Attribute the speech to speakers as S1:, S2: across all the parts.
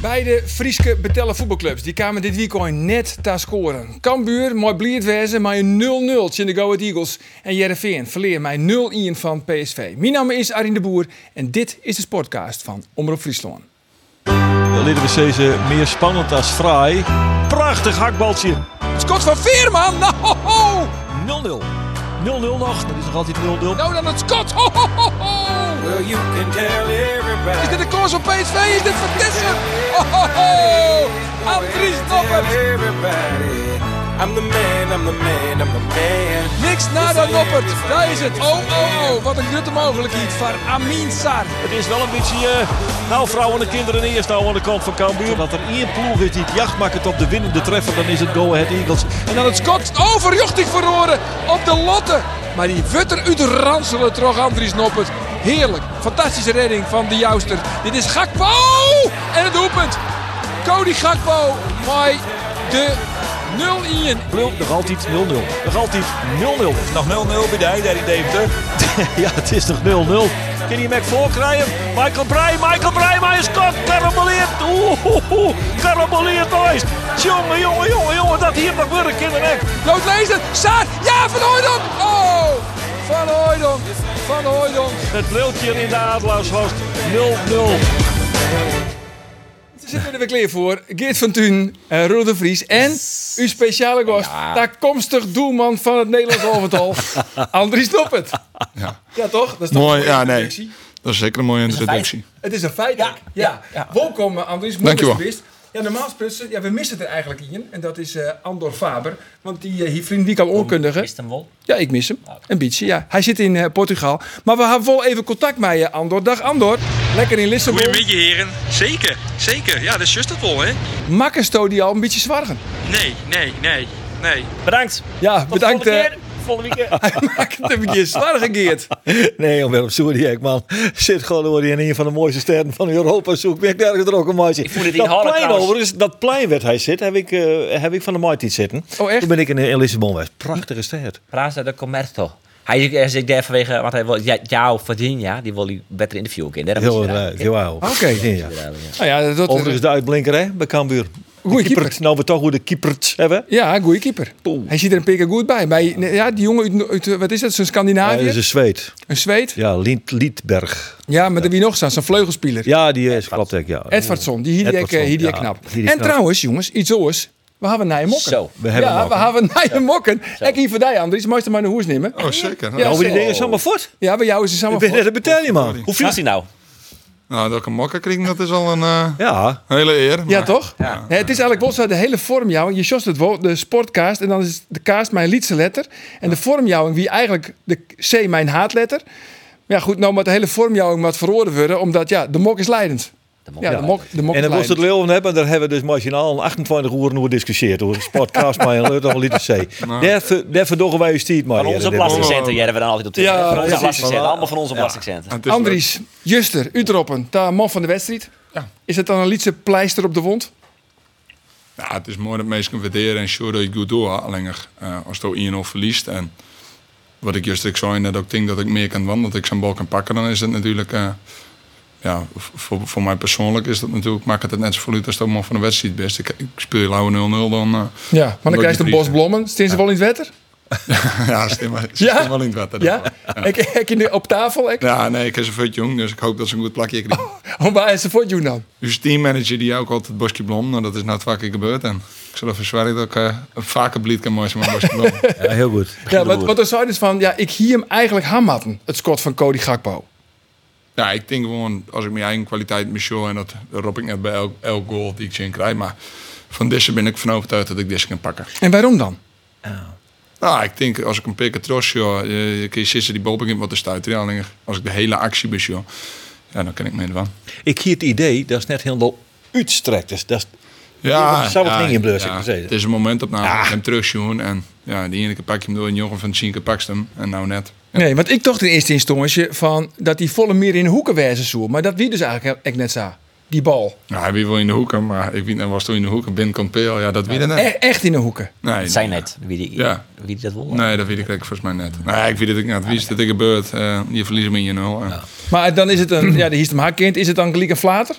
S1: Beide Frieske betellen voetbalclubs die kwamen dit weekend net te scoren. Cambuur, mooi bliert wezen, maar een 0-0 tegen de Go Ahead Eagles. En Jereveen verleer mij 0-1 van PSV. Mijn naam is Arjen de Boer en dit is de sportcast van Omroep Friesland.
S2: Leden we deze meer spannend als fraai. Prachtig hakbaltje. 0-0.
S1: Scott van Veerman, nou ho, ho!
S2: 0-0 nog. Dat is nog altijd 0-0.
S1: Nou dan het Scott, ho ho ho ho!
S3: Well, you can tell
S1: Is
S3: everybody.
S1: dit de koers van PSV? Is dit van Tessen? Ho ho ho! Andries Noppert,
S3: Tell everybody. I'm the man, I'm the man, I'm the man.
S1: niks na dan Noppert. Daar is het. Oh oh oh, wat een nutte mogelijkheid voor Amin Sar.
S2: Het is wel een beetje... eh nou, vrouwen en kinderen eerst nou aan de kant van Cambuur. Dat er één ploeg is die het jacht maakt op de winnende treffer. Dan is het Go Ahead Eagles.
S1: En dan het Scott overjochting verloren op de lotte. Maar die wutter uit de ranselen trog Andries Noppert. Heerlijk. Fantastische redding van de jouster. Dit is Gakpo! Oh! En het doelpunt. Cody Gakpo. Mooi. De 0-1.
S2: Brul, nog altijd 0-0. Nog altijd 0-0. Nog
S3: 0-0 bij daar in Deventer.
S2: ja, het is nog 0-0. Kan je Mac voorkrijgen? Michael Breij, Michael Breij, maar is kop. Karaboleert. Oeh, oeh, oeh. Karaboleert ooit. Jongen, jongen, jongen, jongen. Dat hier nog worden, kindernek.
S1: Dood lezen. Saar. Ja, Van Hooydonk. Oh. Van Hooydonk. Van Hooydonk.
S2: Het briltje in de Adelaarshorst 0-0.
S1: Ze zitten er weer klaar voor. Geert van Thun, eh Roel de Vries en uw speciale gast, toekomstig doelman van het Nederlands elftal, Andries Noppert. Ja. toch? Dat is toch
S4: Mooi,
S1: een mooie
S4: ja, nee.
S1: introductie?
S4: Dat is zeker een mooie introductie.
S1: Het is een feit, ja. ja. Welkom eh, Andries, mooi
S4: Dankjewel.
S1: dat je er bent. Ja, normaal gesproken, ja, we missen er eigenlijk in. En dat is eh, Andor Faber. Want die eh, hier vriend die kan onkundigen. Mist hem wel? Ah, Ja, ik mis hem. Een beetje, ja. Hij zit in eh, Portugal. Maar we hebben wel even contact met je, Andor. Dag Andor. Lekker in Lissabon.
S5: Goedemiddag heren. Zeker, zeker. Ja, dat is juist het wel, hè?
S1: Makken sto die al een beetje zwargen.
S5: Nee, nee, nee, nee.
S2: Bedankt.
S1: Ja, bedankt. eh,
S2: Volgende keer.
S1: Hij maakt het een beetje zwaar Geert.
S2: Nee, om op Soeriek, man. Zit gewoon door in een van de mooiste sterren van Europa. Zoek ben ik nergens gedrokken, maatje. Ik
S6: het in
S2: dat
S6: Halle
S2: plein
S6: trouwens.
S2: overigens, dat plein waar hij zit, heb ik, eh, heb ik van de maat iets zitten.
S1: Oh, echt?
S2: Toen ben ik in, in Lissabon geweest. Prachtige stad.
S6: Praça de Comércio. Hij is, hij zit daar vanwege, want hij wil ja, jou Virginia, die wil die beter interviewen. Kind, hè? Dat
S2: Heel
S6: moet je raden,
S2: leuk.
S6: kind.
S2: Heel oud.
S1: Oké.
S2: Ja.
S1: Nou ja, dat
S2: Overigens de uitblinker, hè, bij Cambuur.
S1: Goeie
S2: De
S1: keeper.
S2: Nou, we toch hoe de keepers hebben.
S1: Ja, een goede keeper. Hij ziet er een pikker goed bij. Maar ja, die jongen uit, uit, eh, wat is dat, zo'n
S2: Hij
S1: Scandinavië?
S2: is een Zweed.
S1: Een Zweed? Ja,
S2: Ja, Lied, Liedberg.
S1: maar er wie nog staan, zo'n vleugelspeler.
S2: Ja, die is, klopt, ik, ja.
S1: Edvardsson, die hier ik, eh,
S2: Edvardsson,
S1: hier die ik
S2: ja.
S1: knap.
S2: Die die
S1: en
S2: knap.
S1: trouwens, jongens, iets anders. We hebben Nijen Mokken.
S6: Zo.
S2: We hebben
S1: ja,
S2: hem ook,
S1: we
S2: hè.
S1: hebben Nijen Mokken. Ik hier voor jou, Andries. Mag je hem maar naar hoes nemen?
S4: Oh, zeker.
S1: Ja.
S4: Ja.
S2: Nou, maar die
S1: zo.
S2: dingen zijn allemaal voort.
S1: Ja, bij jou is het
S2: Ik
S1: samen
S2: ben
S1: voor.
S2: net een betalje, man.
S6: Hoe viel hij nou?
S4: Nou, dat ik een mokka kreeg, dat is al een eh,
S2: Ja,
S4: hele eer.
S1: Ja,
S4: maar-
S1: toch? Nee, het is eigenlijk wel zo, de hele vormjouwing. Je sjost het wel, de sportkaast. En dan is de kaast mijn liedse letter. En de vormjouwing, wie eigenlijk de C mijn haatletter. Maar ja, goed, nou moet de hele vormjouwing wat verroren worden. Omdat, ja, de mok is leidend. ja, de mok, de mok
S2: en
S1: is
S2: dan was
S1: leidend.
S2: het Leeuwen hebben, daar hebben we dus marginaal een 28 uur over discussieerd. Over sportcast, maar een leuk allemaal niet te C. Daar ver- Daar verdoggen wij je stiet, maar.
S6: Van onze
S2: heren.
S6: belastingcenten, jij hebben we dan altijd op terug.
S1: Ja,
S6: hè? Van onze
S1: precies.
S6: belastingcenten, allemaal van onze belastingcenten.
S4: Het is
S1: Andries, Juster, Utroppen, de man van de wedstrijd. Is het dan een liedse pleister op de wond?
S4: leuk. Ja, het is mooi dat mensen kunnen waarderen en sure dat je goed door alleen eh, als je 1-0 verliest. En wat ik juist ook zei, dat ik denk dat ik meer kan wandelen, dat ik zijn bal kan pakken, dan is het natuurlijk... eh, ja, v- voor, voor mij persoonlijk is dat natuurlijk, maakt het het net zo voor uit als dat man van de wedstrijd best. Ik, ik speel lauwe 0-0 dan.
S1: Ja,
S4: eh,
S1: maar dan
S4: Nooit
S1: krijg je een
S4: die
S1: bos
S4: prijs, hè.
S1: blommen. Steen ze wel in het wetter?
S4: ja, stem maar,
S1: Ja?
S4: stem wel in het water.
S1: Ja? Ik, ik in de- op tafel, ik.
S4: Ja, nee, ik is een vet jong, dus ik hoop dat ze een goed plakje krijgen.
S1: Oh, maar is de voortune dan?
S4: Uw teammanager Dus die ook altijd Bosje Blom, nou dat is nou het vaker gebeurd. En ik zal ervoor zweren dat ik eh, een vaker blied kan mooi zijn met Bosje Blom.
S2: Ja, heel goed.
S1: Ja, want, want dan zou je dus van, ja, ik hier hem eigenlijk hammatten. Het schot van Cody Gakpo.
S4: ja, ik denk gewoon, als ik mijn eigen kwaliteit mis show, en dat roep ik net bij elk, elk goal die ik in krijg. Maar van deze ben ik van overtuigd dat ik deze kan pakken.
S1: En waarom dan?
S4: Nou, ik denk als ik een pikken tros, joh, eh, je kan zitten die bal begint wat te stuiten. Ja, alleen als ik de hele actie mis, joh, ja, dan kan ik mee van.
S2: Ik hier het idee, dat is net helemaal uitstrekt. Dus dat is
S4: Ja,
S2: Ja, zou het niet in blus, ik maar zeggen.
S4: Het is
S2: Ah.
S4: een moment op nou, hem terugzien en ja, die ene keer pak je hem door en jongen van Sienke pakst hem en nou net.
S1: Nee, want ik dacht in eerste instantie van dat die volle meer in de hoeken wijzen zou. Maar dat wie dus eigenlijk echt net zo. Die bal.
S4: Ja, Nou, hij wie wil in de hoeken, maar ik weet, hij was toen in de hoeken. Ben Kampeel, ja, dat wie dan
S1: E- echt in de hoeken.
S4: Nee,
S6: Het zijn net wie die,
S4: Ja.
S6: wie die dat won.
S4: nee, dat weet ik eigenlijk volgens mij net. Nee, ik weet het ook niet. Wie is dat ik gebeurd? Eh, je verliezen me in je nul. eh.
S1: Maar dan is het een, ja, de hiest hem haar kind. Is het dan gelijk een flater?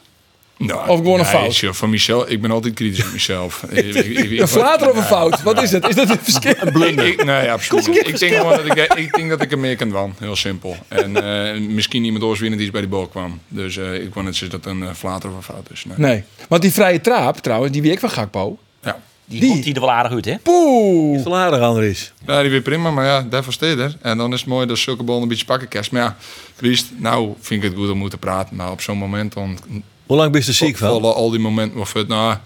S4: Nou,
S1: Of gewoon een
S4: nee,
S1: fout?
S4: tjoh, Van Michel, ik ben altijd kritisch op mezelf. Ik- ik- ik-
S1: Een flater of een
S4: Ja,
S1: fout? Wat is dat? Is dat een verschil?
S4: Ik, ik- nee, absoluut niet. Ik denk gewoon dat ik, ik denk dat ik er meer kan dan. Heel simpel. En eh, misschien iemand anders winnen die eens bij die bal kwam. Dus eh, ik wou net zeggen dat een eh, flater van fout is. Nee.
S1: Nee. Want die vrije traap trouwens, die wie ik van Gakpo.
S4: Ja.
S6: Die,
S1: Die-
S6: komt hier er wel aardig uit, hè?
S1: Poeh.
S7: Verlader, Andries.
S4: Ja, die weer prima, maar ja, daarvoor steed er. En dan is het mooi dat zulke ballen een beetje pakken kerst. Maar ja, liefst, nou vind ik het goed om moeten praten. Maar op zo'n moment dan
S7: Hoe lang ben je er ziek van?
S4: vallen al die momenten of het nou...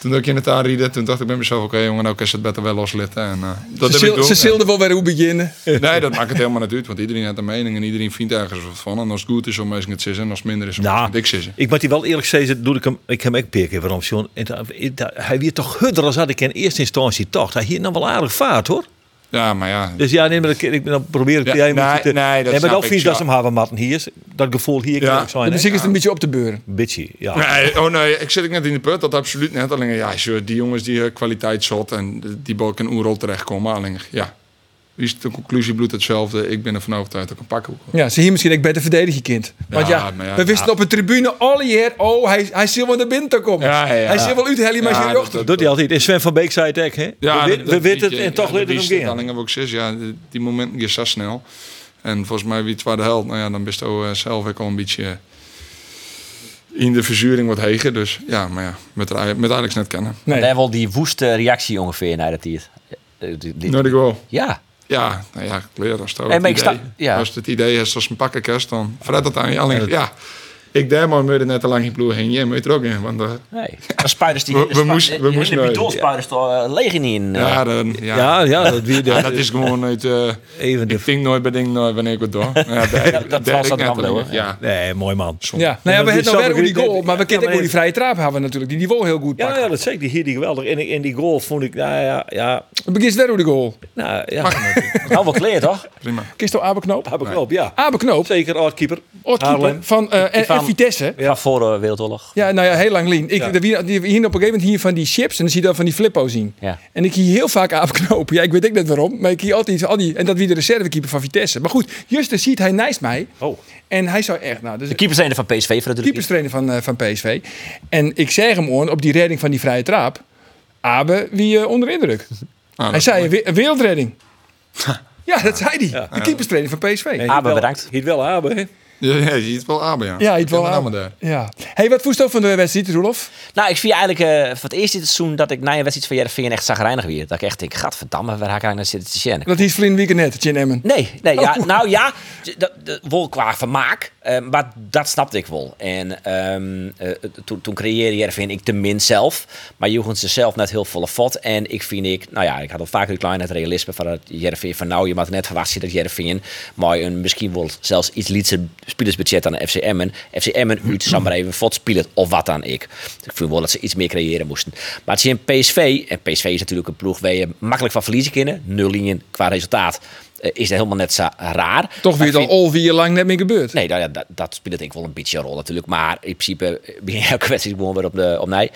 S4: Toen ik in het aanrieden, toen dacht ik bij mezelf, oké jongen, nou kan ze het beter wel loslitten. En, eh, dat
S1: Ze
S4: heb ik
S1: zil-
S4: doen.
S1: Ze zilden wel weer hoe beginnen.
S4: Nee, dat maakt het helemaal niet uit, want iedereen heeft een mening en iedereen vindt ergens wat van. En als het goed is, om mensen het zitten. En als het minder is, om
S7: Nou,
S4: ik zitten.
S7: ik moet die wel eerlijk zeggen, doe ik hem, ik heb hem ook een keer waarom, John. En da- en da- hij weer toch hudder als had ik in eerste instantie toch. Hij hier nou wel aardig vaart, hoor.
S4: Ja, maar ja.
S7: Dus ja, nee, maar ik, ik dan probeer ik
S4: Ja,
S7: jij moet
S4: nee,
S7: het, eh,
S4: nee, dat
S7: maar
S4: snap
S7: dat
S4: ik,
S7: vies
S4: ja.
S7: dat ze hem hebben, Martin. Hier is dat gevoel hier kan
S4: Ja.
S7: ook zijn.
S1: De
S7: hè?
S1: muziek is het
S4: nou.
S1: een beetje op de beuren.
S7: Bitchy, ja.
S4: Nee, oh nee, ik zit ook net in de put, dat absoluut net. Alleen, ja, joh, die jongens die eh, kwaliteit zot en die bal kan oerol terechtkomen. Alleen, ja, wie is de conclusie bloedt hetzelfde. Ik ben ervan overtuigd dat ik een pak hoek.
S1: Ja, ze hier misschien ook beter verdedigen kind. Want ja,
S4: Ja, maar ja,
S1: we wisten op de tribune al hier, oh, hij, hij zit wel naar binnen te komen.
S4: Ja, ja, ja.
S1: Hij zit wel uit, Helly, maar
S4: Ja,
S1: zijn
S4: dat-
S1: dochter.
S7: Dat doet hij altijd. En Sven van Beek zei het ook, hè? we wit- we weten het en toch
S4: weer
S7: laten we hem gaan.
S4: Alleen heb ik zes, ja, die- die momenten gaan zo snel. En volgens mij wie het waar de held, nou ja, dan bist je eh, zelf ook al een beetje eh, in de verzuring wat heger. Dus ja, maar ja, met, Aj- met Ajax net kennen.
S1: Nee.
S6: Daar wel die woeste reactie ongeveer naar dat hier.
S4: Nou, ik wel.
S6: Ja,
S4: Ja, nou ja, kleur als het
S6: Nee, maar
S4: idee,
S6: ik sta- ja.
S4: als het idee is als een pakkenkast, dan fret dat aan je. Alleen, ja, ik daar maar meer net te lang in ploeg heen. Jij moet er ook in, want eh,
S6: nee. Dan spuiters die.
S4: We-
S6: de
S4: we
S6: spu-
S4: moesten- we
S6: de- de
S4: moesten-
S6: bidon spuiters toch, eh, leeg in in. eh.
S4: ja, dan, ja,
S7: Ja, ja, dat weer
S4: Ja, dat is gewoon uit. eh
S7: even de...
S4: ik denk nooit bij ding nooit wanneer ik het door. Ja, daar- daar
S6: valt
S4: ik
S6: aan
S4: net
S6: de
S4: alleen,
S6: hand, hoor.
S4: Ja,
S7: Nee, mooi man.
S1: Ja, nou ja, we
S7: maar die
S1: hebben nou
S7: snap
S1: weer
S7: ik
S1: hoe die
S7: niet.
S1: goal, maar we
S7: Ja,
S1: kennen ook
S7: maar
S1: hoe die vrije traap hebben natuurlijk. Die niveau heel goed
S7: Ja,
S1: pakken.
S7: ja, dat zeker. Die hier die geweldig. En, en die goal vond ik, nou ja, ja,
S1: Het begint weer hoe die goal.
S7: nou ja,
S6: Nou, wat leer toch?
S4: prima. Ah,
S1: Kist al Aberknoop?
S7: heb ik op, ja.
S1: Aberknoop,
S7: Zeker, oudkeeper.
S1: oortkeeper
S7: Haarlem.
S1: van eh, en- en
S6: van-
S1: Vitesse.
S6: Ja. Van voor de Wereldoorlog.
S1: Ja, nou ja, heel lang lien. Ik,
S7: Ja.
S1: de- die- die- hier op een gegeven moment hier van die chips en dan zie je dan van die flippo zien.
S6: Ja.
S1: En ik zie heel vaak afknopen. Ja, ik weet ook net waarom. Maar ik zie altijd al die. En dat wie de reservekeeper van Vitesse. Maar goed, Justus ziet hij naast mij.
S7: Oh.
S1: En hij zou echt. Nou, dus
S6: De keepers zijn er van PSV voor natuurlijk.
S1: keeperstrainer van, eh, van PSV. En ik zeg hem gewoon op die redding van die vrije traap. Abe, wie eh, onder indruk?
S4: Nou,
S1: hij
S4: dat-
S1: zei een we- een wereldredding. ja, dat zei hij. De keeperstrainer van PSV.
S7: En
S6: Abe,
S7: hier wel-
S6: Ah, bedankt.
S7: Hier wel Abe, hè.
S4: Ja, ja, je ziet wel Abe, ja.
S1: Ja, hij het wel
S4: Ken
S1: aan.
S4: allemaal daar.
S1: Ja. Hey, wat voest ook van de wedstrijd, Roelof?
S6: Nou, ik zie eigenlijk eh, voor het eerst dit seizoen dat ik na een wedstrijd van Jervin echt zagrijnig weer. Dat ik echt denk, gadverdamme, waar haak ik eigenlijk naar zitten te zien?
S1: Dat is vriend weekend net, Jin Emmen.
S6: Nee, nee ja, nou ja, dat, dat, wel qua vermaak, eh, maar dat snapte ik wel. En ehm, eh, toen, toen creëerde Jervin ik te min zelf, maar Joegen ze zelf net heel volle vat. En ik vind ik, nou ja, ik had al vaker die kleine het realisme van dat Jervin van nou, je mag net verwachten dat Jervin maar een misschien wel zelfs iets lietse spelersbudget aan de FCM en FCM en uit zal maar even vod spelen of wat dan ik. Dus ik vind wel dat ze iets meer creëren moesten. Maar het is in PSV, en PSV is natuurlijk een ploeg waar je makkelijk van verliezen kunnen, nul linien qua resultaat eh, is dat helemaal net zo raar.
S1: Toch
S6: Maar
S1: weer
S6: ik
S1: al
S6: vind-
S1: al vier jaar lang net meer gebeurd.
S6: Nee, nou ja, dat, dat speelt denk ik wel een beetje een rol natuurlijk. Maar in principe eh, ben je elke wedstrijd gewoon weer op de op nee.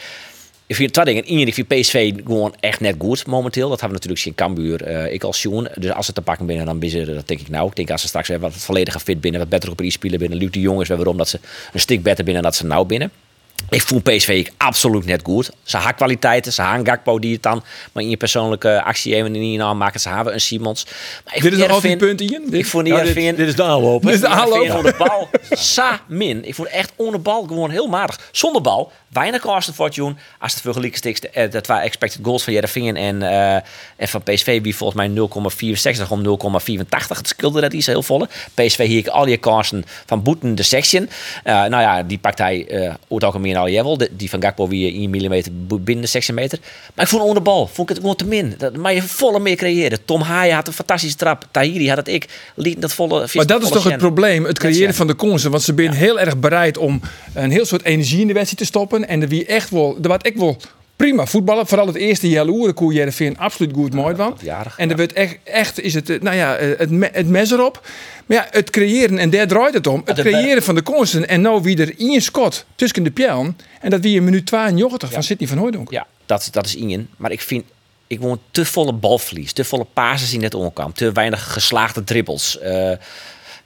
S6: Ik vind twee dingen. Eén, ik vind PSV gewoon echt net goed momenteel. Dat hebben we natuurlijk zien Cambuur, eh, ik als Sjoen. Dus als ze te pakken binnen, dan ben ze er, dat denk ik nou. Ik denk als ze straks even wat vollediger fit binnen, wat beter op prijs spelen binnen. Luc de Jong is weer waarom dat ze een stuk beter binnen dan dat ze nou binnen. Ik voel PSV absoluut net goed. Ze haar kwaliteiten, ze haar een Gakpo die het dan maar in je persoonlijke actie even niet aan maken. Ze hebben een Simons. Maar ik
S1: Dit is
S6: vind
S1: nog altijd
S6: Ervin-
S1: punt in.
S6: Ik vond
S7: Ja, dit,
S6: Ervin-
S7: dit is de aanloop. hè.
S1: Dit is de
S6: ik vond
S1: aanloop.
S6: Ervin onder de bal sa min. Ik vond echt onder bal gewoon heel matig. Zonder bal, weinig kosten voor June. Als het vergelijkt stiks, eh, dat waren expected goals van Jerevingen en, eh, en van PSV. Wie volgens mij 0,64 om 0,84. Het scheelde dat iets heel volle. PSV hier ik al je kosten van Boeten de section. Eh, nou ja, die pakt hij eh ooit ook al meer dan al jawel. De- Die van Gakpo weer 1 mm binnen de 16 meter. Maar ik vond onder bal, vond ik het gewoon te min. Dat, maar je volle meer creëren. Tom Haaien had een fantastische trap. Tahiri had het ik. Liet dat volle
S1: Maar dat is toch het probleem, het creëren
S6: Jensen.
S1: van de kansen. Want ze zijn heel erg bereid om een heel soort energie in de wedstrijd te stoppen. En er wie echt wel, er wat ik wel prima voetballen. Vooral het eerste jaloeren koe Jereveen absoluut goed mooi van.
S6: jarig,
S1: En er werd echt, echt is het, eh, nou ja, eh, het, me- het mes erop. Maar ja, het creëren, en daar draait het om. Het
S6: de be-
S1: creëren van de kansen. En nou wie er in Scott tussen de pijlen. En dat wie in minuut 82 van Sidney van Hooydonk.
S6: Ja, dat, dat is Ingen. Maar ik vind, ik woon te volle balverlies, te volle pases in het onkamp, te weinig geslaagde dribbels. Eh,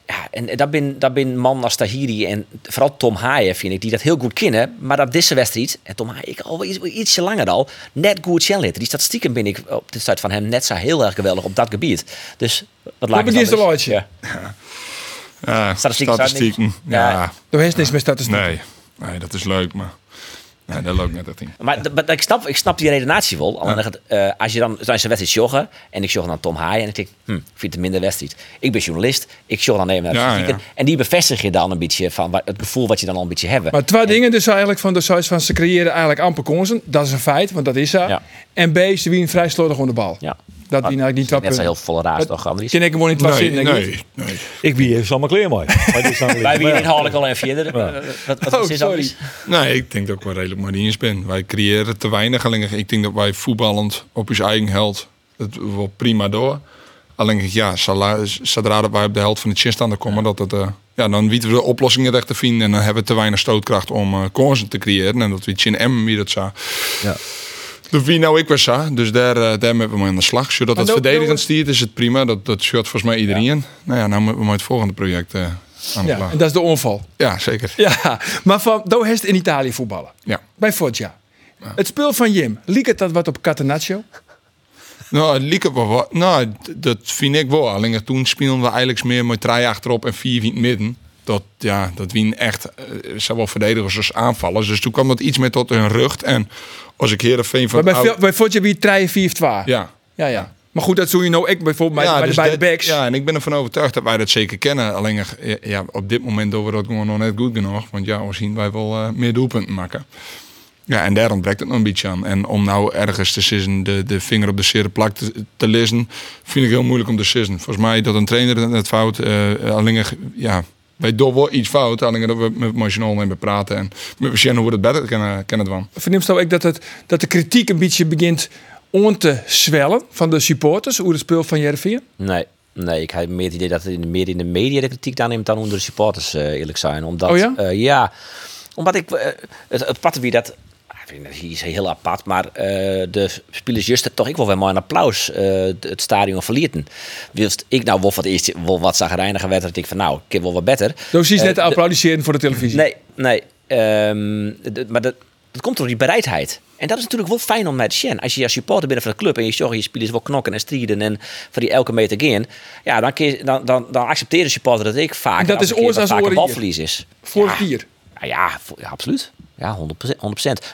S6: ja, en, en dat ben, dat ben man als Tahiri en vooral Tom Haaien, vind ik, die dat heel goed kennen. Maar dat deze wedstrijd, en Tom Haaien, ik al wel iets, ietsje langer al, net goed challenge. Die statistieken ben ik op de site van hem net zo heel erg geweldig op dat gebied. Dus wat laat
S1: Dat
S6: ik
S1: begint de
S6: dan eens-
S1: loodje.
S6: Ja.
S4: Ja,
S6: Statistieken
S4: statistieken.
S6: staat niks.
S4: Ja,
S6: Ja.
S1: Daar heeft niks met statistiek.
S4: Nee. nee, dat is leuk, maar nee, dat loopt net echt in.
S6: Maar, d- maar ik, snap, ik snap die redenatie wel. Alleen dat het, eh, als je dan zijn wedstrijd joggen en ik jog dan Tom Haaien en ik denk, hm, ik vind het een minder wedstrijd. Ik ben journalist, ik jog dan even naar de
S4: Ja,
S6: statistieken.
S4: ja.
S6: En die bevestig je dan een beetje van wa- het gevoel wat je dan al een beetje hebt.
S1: Maar twee dingen dus eigenlijk van de size van ze creëren eigenlijk amper kansen. Dat is een feit, want dat is zo.
S6: Ja.
S1: En B, ze winnen vrij slordig onder de bal.
S6: ja. Ah,
S1: Dat winnen eigenlijk nou niet
S6: Net zo
S1: punten.
S6: heel volle raas toch, Andries?
S1: Ken ik gewoon in het
S4: Nee,
S1: zitten. denk ik.
S4: nee, nee.
S7: Ik ben even allemaal kleer mooi.
S6: Wij wie inhoudelijk al even verder. Eh, Wat, wat is
S1: Oh, sorry.
S6: Andries?
S4: Nee, ik denk dat ik wel redelijk maar eens ben. Wij creëren te weinig. Alleen ik denk dat wij voetballend op ons eigen held het wel prima door. Alleen ja, zala- zodra dat wij op de helft van de chin staan, dan komen dat het, eh, ja, dan weten we de oplossingen recht te vinden en dan hebben we te weinig stootkracht om eh kansen te creëren en dat we chin M wie dat zou.
S7: Ja.
S4: De wie nou ik was sa. Dus daar, eh, daar moeten we mee aan de slag. Zodat het
S1: dan- dan-
S4: verdedigend stiert is het prima. Dat, dat shirt volgens mij iedereen. Nou ja, nou moeten we met het volgende project eh, aan de
S1: Ja,
S4: slag.
S1: en dat is de onval.
S4: Ja, zeker.
S1: Ja, maar van Dohest in Italië voetballen.
S4: Ja.
S1: Bij Foggia. Het spul van Jim, liek het dat wat op Catenaccio?
S4: Nou, het liep wel wat. Nou, d- dat vind ik wel. Alleen toen speelden we eigenlijk meer met drie achterop en vier in het midden. Dat, ja, dat wien echt eh, zowel verdedigers als aanvallers. Dus toen kwam dat iets meer tot hun rug. En als ik Heerenveen van...
S1: Maar bij,
S4: oude-
S1: veel- bij Foggia wie 3, 4, 2.
S4: Ja.
S1: ja, ja. Maar goed, dat doe je nou ik bijvoorbeeld bij,
S4: ja,
S1: bij,
S4: dus
S1: de, bij
S4: dat-
S1: de backs.
S4: Ja, en ik ben ervan overtuigd dat wij dat zeker kennen. Alleen eh, ja, op dit moment doen we dat gewoon nog net goed genoeg. Want ja, we zien wij wel eh, meer doelpunten maken. Ja, en daar ontbreekt het nog een beetje aan. En om nou ergens te sissen, de, de vinger op de zere plak te, te lissen, vind ik heel moeilijk om te sissen. Volgens mij dat een trainer het net fout, eh alleen eh, ja, wij doen wel iets fout, alleen dat we met Marginal mee praten en met Marginal hoe we dat beter kennen, kennen van.
S1: Verneemt ook dat, het, dat de kritiek een beetje begint om te zwellen van de supporters, hoe het spul van Jervin?
S6: Nee. Nee, ik heb meer het idee dat het in de, meer in de media de kritiek aanneemt dan onder de supporters, eh, eerlijk zijn. Omdat,
S1: Oh ja?
S6: eh, ja, omdat ik... eh, het, het patte wie dat... ah, ik vind dat Hier is heel apart, maar eh, de spelers juist toch ik wel weer maar een applaus eh, het stadion verlierten. Wist ik nou wel wat eerst wel wat zagrijniger werd, dat ik van nou, ik heb wel wat beter.
S1: Dus is
S6: Eh,
S1: net te
S6: de-
S1: applaudisseren voor de televisie.
S6: Nee, nee. Ehm, d- maar dat, dat komt door die bereidheid. En dat is natuurlijk wel fijn om naar te zien. Als je als supporter bent van de club en je zorgt je spelers wel knokken en strijden en van die elke meter gaan. Ja, dan, kun je- dan, dan, dan accepteert de supporter dat ik vaak.
S1: En dat is oorzaak
S6: vaak
S1: oren
S6: een
S1: hier.
S6: balverlies is.
S1: Voor
S6: ja.
S1: het dier.
S6: Ja, ja, vo- ja, absoluut. Ja, 100%. 100%.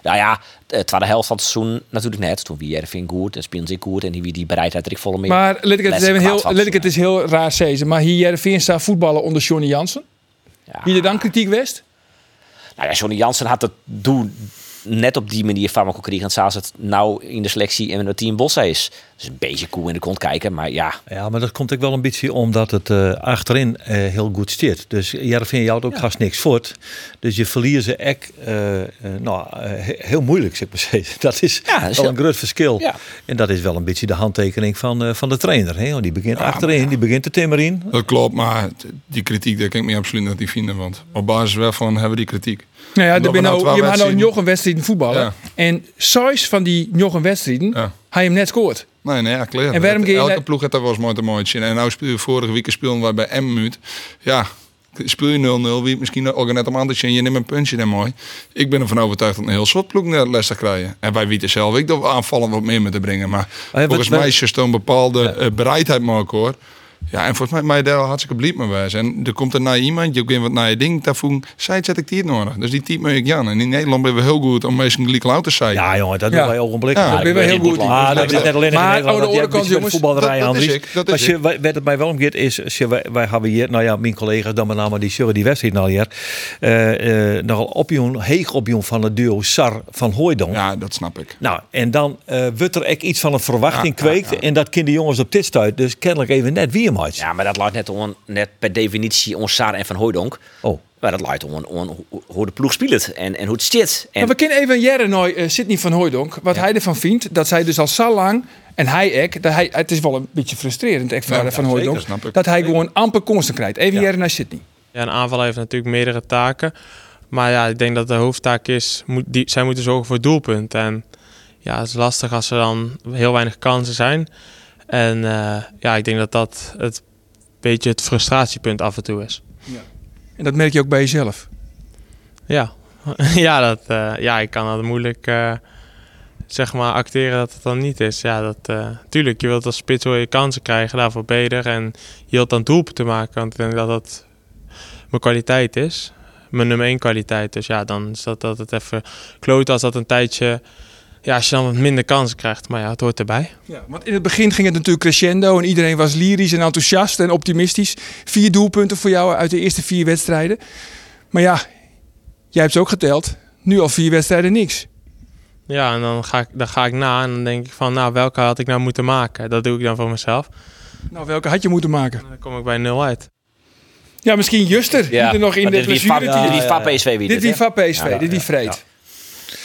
S6: Nou ja, de tweede helft van het seizoen natuurlijk net. Toen wie Jervin goed en Spiels ik goed en die, wie die bereidheid er ik volle mee.
S1: Maar let ik het, eens
S6: Lessen
S1: even
S6: kwaad
S1: heel,
S6: van
S1: let ik het eens heel raar zeggen. Maar hier Jervin staat voetballen onder Johnny Jansen.
S6: Ja.
S1: Wie er dan kritiek west?
S6: Nou ja, Johnny Jansen had het doen net op die manier van Marco Kriegend zoals het nou in de selectie en met het team Bossa is. Dus een beetje koe in de kont kijken, maar ja.
S7: Ja, maar dat komt ook wel een beetje omdat het eh, achterin eh, heel goed steert. Dus Jarvin jouwt ook vast niks voort. Dus je verliert ze echt eh, eh, nou, eh, he- heel moeilijk, zeg maar. steeds. Dat is
S6: Ja, dat is
S7: wel
S6: heel-
S7: een groot verschil.
S6: Ja.
S7: En dat is wel een beetje de handtekening van, eh, van de trainer. Hè? Want die begint achterin, die begint te timmeren.
S4: Dat klopt, maar t- die kritiek, daar kan ik me absoluut niet in vinden. Want op basis waarvan hebben we die kritiek?
S1: Nou ja, er
S4: Omdat
S1: ben
S4: we nou
S1: nou,
S4: twaalf
S1: je mag nou
S4: wedstrijden-
S1: nog een wedstrijd voetballen.
S4: Ja.
S1: En zes van die nog een wedstrijden,
S4: Ja.
S1: hij hem net scoort.
S4: Nee, nee, ja, klaar.
S1: En waarom
S4: Dat-
S1: ga je
S4: Elke
S1: naar-
S4: ploeg heeft daar wel eens mooi te mooi zin. En nou speel je vorige week speelden wij bij Emmuut. Ja, speel je 0-0, wie het misschien ook net om aan te zien. Je neemt een puntje dan mooi. Ik ben ervan overtuigd dat een heel soort ploeg naar les te krijgen. En wij weten zelf, ik dat we aanvallen wat meer moeten brengen. Maar
S7: wat-
S4: volgens
S7: wat-
S4: mij is er een bepaalde eh, bereidheid maken hoor. Ja, en volgens mij mij daar wel hartstikke bliep mee wijs. En er komt er naar iemand, je kunt wat naar je ding, daarvoor zij zet ik die het nodig. Dus die type moet ik Jan. En in Nederland ben we heel goed om mensen gelijk lauw te zijn.
S7: Ja, jongen, dat
S1: Ja.
S7: doen wij ogenblikkelijk.
S4: Ja, dat
S1: ben je heel goed in.
S7: Maar Ah, dat is net alleen in
S1: Maar
S7: Nederland.
S1: aan
S4: oh,
S1: de
S7: dat
S1: andere
S7: jij een
S1: kant,
S7: beetje met
S1: jongens,
S7: voetballerij
S4: dus- dat- dat is
S7: aan
S4: ik, dat is
S7: Maar
S4: ik.
S7: je- wij- wat het mij wel om gaat is, je- wij, wij hebben hier, nou ja, mijn collega's dan met name die zullen die wedstrijd nou hier, eh, eh, nogal opjoen, heeg opjoen van het duo Sar van Hooijdonk.
S4: Ja, dat snap ik.
S7: Nou, en dan eh wordt er echt iets van een verwachting
S4: Ja, ja,
S7: kweekt. En dat kind de jongens op dit stuit. Dus kennelijk even net wie hem uit.
S6: Ja, maar dat lijkt net, on, net per definitie ons Saar en Van Hooydonk.
S7: Oh.
S6: Maar dat leidt om, een- om een- hoe- hoe de ploeg speelt en, en hoe het zit. En,
S1: Maar we kennen even Jerre nooit eh, Sidney van Hooijdonk. Wat hij ervan vindt, dat zij dus al zo lang... En hij ook, dat hij, het is wel een beetje frustrerend echt,
S4: Ja,
S1: van, van
S4: ja,
S1: Hooijdonk.
S4: zeker, snap ik.
S1: dat hij gewoon amper kansen krijgt. Even Jerre naar Sidney.
S8: Ja, een aanval heeft natuurlijk meerdere taken. Maar ja, ik denk dat de hoofdtaak is, moet, die, zij moeten zorgen voor het doelpunt. En ja, het is lastig als er dan heel weinig kansen zijn. En eh, ja, ik denk dat dat het beetje het frustratiepunt af en toe is.
S1: En dat merk je ook bij jezelf.
S8: Ja, ja, dat, eh, ja ik kan dat moeilijk eh, zeg maar acteren dat het dan niet is. Ja, dat, eh, tuurlijk, je wilt als spits wel je kansen krijgen, daarvoor beter. En je wilt dan doelpunten te maken, want ik denk dat dat mijn kwaliteit is. Mijn nummer één kwaliteit. Dus ja, dan is dat, dat het even kloot als dat een tijdje... Ja, als je dan wat minder kansen krijgt. Maar ja, het hoort erbij.
S1: Ja, want in het begin ging het natuurlijk crescendo en iedereen was lyrisch en enthousiast en optimistisch. Vier doelpunten voor jou uit de eerste vier wedstrijden. Maar ja, jij hebt ze ook geteld. Nu al vier wedstrijden niks.
S8: Ja, en dan ga, ik, dan ga ik na en dan denk ik van... Nou, welke had ik nou moeten maken? Dat doe ik dan voor mezelf.
S1: Nou, welke had je moeten maken?
S8: En dan kom ik bij nul uit.
S1: Ja, misschien Juster.
S6: ja,
S1: die er nog in
S6: maar
S1: de
S6: dit wie
S1: blessure.
S6: Dit wie
S1: Dit
S6: Fab PSV wie
S1: Dit
S6: hè?
S1: wie van PSV,
S6: Ja,
S1: dit wie vreed.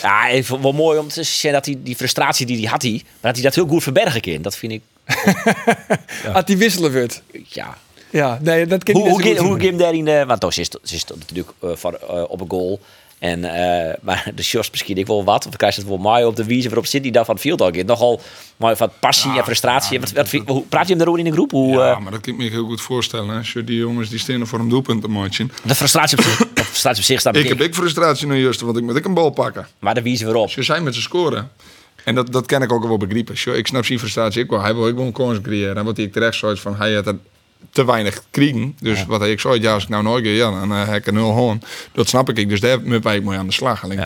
S6: Ja, ik vond het wel mooi om te zien dat hij die frustratie die hij had, hij, maar dat hij dat heel goed verbergen kan. Dat vind ik,
S1: Had die wisselen wordt.
S6: ja.
S1: Ja, nee, dat kan
S6: Hoe,
S1: niet.
S6: hoe, ging- hoe Kim daarin, eh, want toch is het is het natuurlijk eh, voor, eh, op een goal. En, eh, maar de shots misschien ik wel wat. Of krijg je het wel mooi op de wijze waarop zit die daar van het veld al in. Nogal mooi van passie en frustratie. wat, wat vind- hoe, praat je hem daarover in de groep? Hoe,
S4: Ja,
S6: eh,
S4: maar dat kan ik me heel goed voorstellen. hè. Als je die jongens die stenen voor een doelpunt te matchen.
S6: de frustratie op zich, de frustratie op zich staat
S4: Ik
S6: ik,
S4: heb ik frustratie nu juist, want ik moet ik een bal pakken.
S6: Maar de wijze waarop.
S4: Ze zijn met ze scoren. En dat, dat ken ik ook wel begrijpen. Zo, Ik snap zijn frustratie ook wel. Hij wil ook wel een kans creëren. En wat hij terecht zei, is van hij had er te weinig kriegen. Dus wat hij ik zei, ja, als ik nou nooit keer, ja, dan eh, heb ik er nul gewoon. Dat snap ik. Dus daar moet wij ook mee aan de slag. Alleen,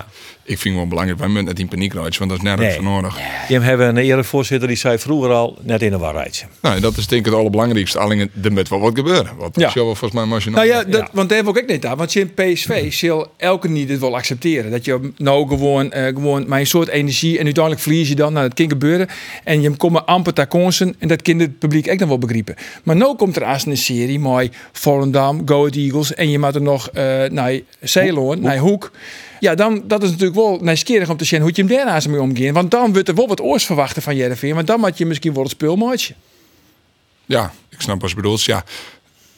S4: ik vind het wel belangrijk, wij moeten net in paniek rijden, want dat is nergens
S7: Nee.
S4: voor nodig.
S7: Jim hebben een erevoorzitter die zei vroeger al net in de waarheid.
S4: Nou, dat is denk ik het allerbelangrijkste. Alleen, er moet wel wat gebeuren. Want dat
S1: Ja.
S4: is wel volgens mij marginaal.
S1: Nou ja, Mhm. dat, want daar heb ik ook net aan. Want je in PSV zal elke niet dit wel accepteren. Dat je nou gewoon, eh gewoon maar een soort energie en uiteindelijk verlies je dan. Nou, dat kan gebeuren. En je komt amper ter kansen en dat kan het publiek echt nog wel begrijpen. Maar nu komt er als een serie mooi Volendam, Go Ahead Eagles en je maakt er nog eh, naar Ceylon, naar Hoek. Ja, dan, dat is natuurlijk wel nieuwsgierig om te zien hoe je hem daarnaast mee omgeeft. Want dan wordt er wel wat oors verwachten van Jereveen. Want dan maak je misschien wel het speelmaatje.
S4: Ja, ik snap wat je bedoelt. Ja,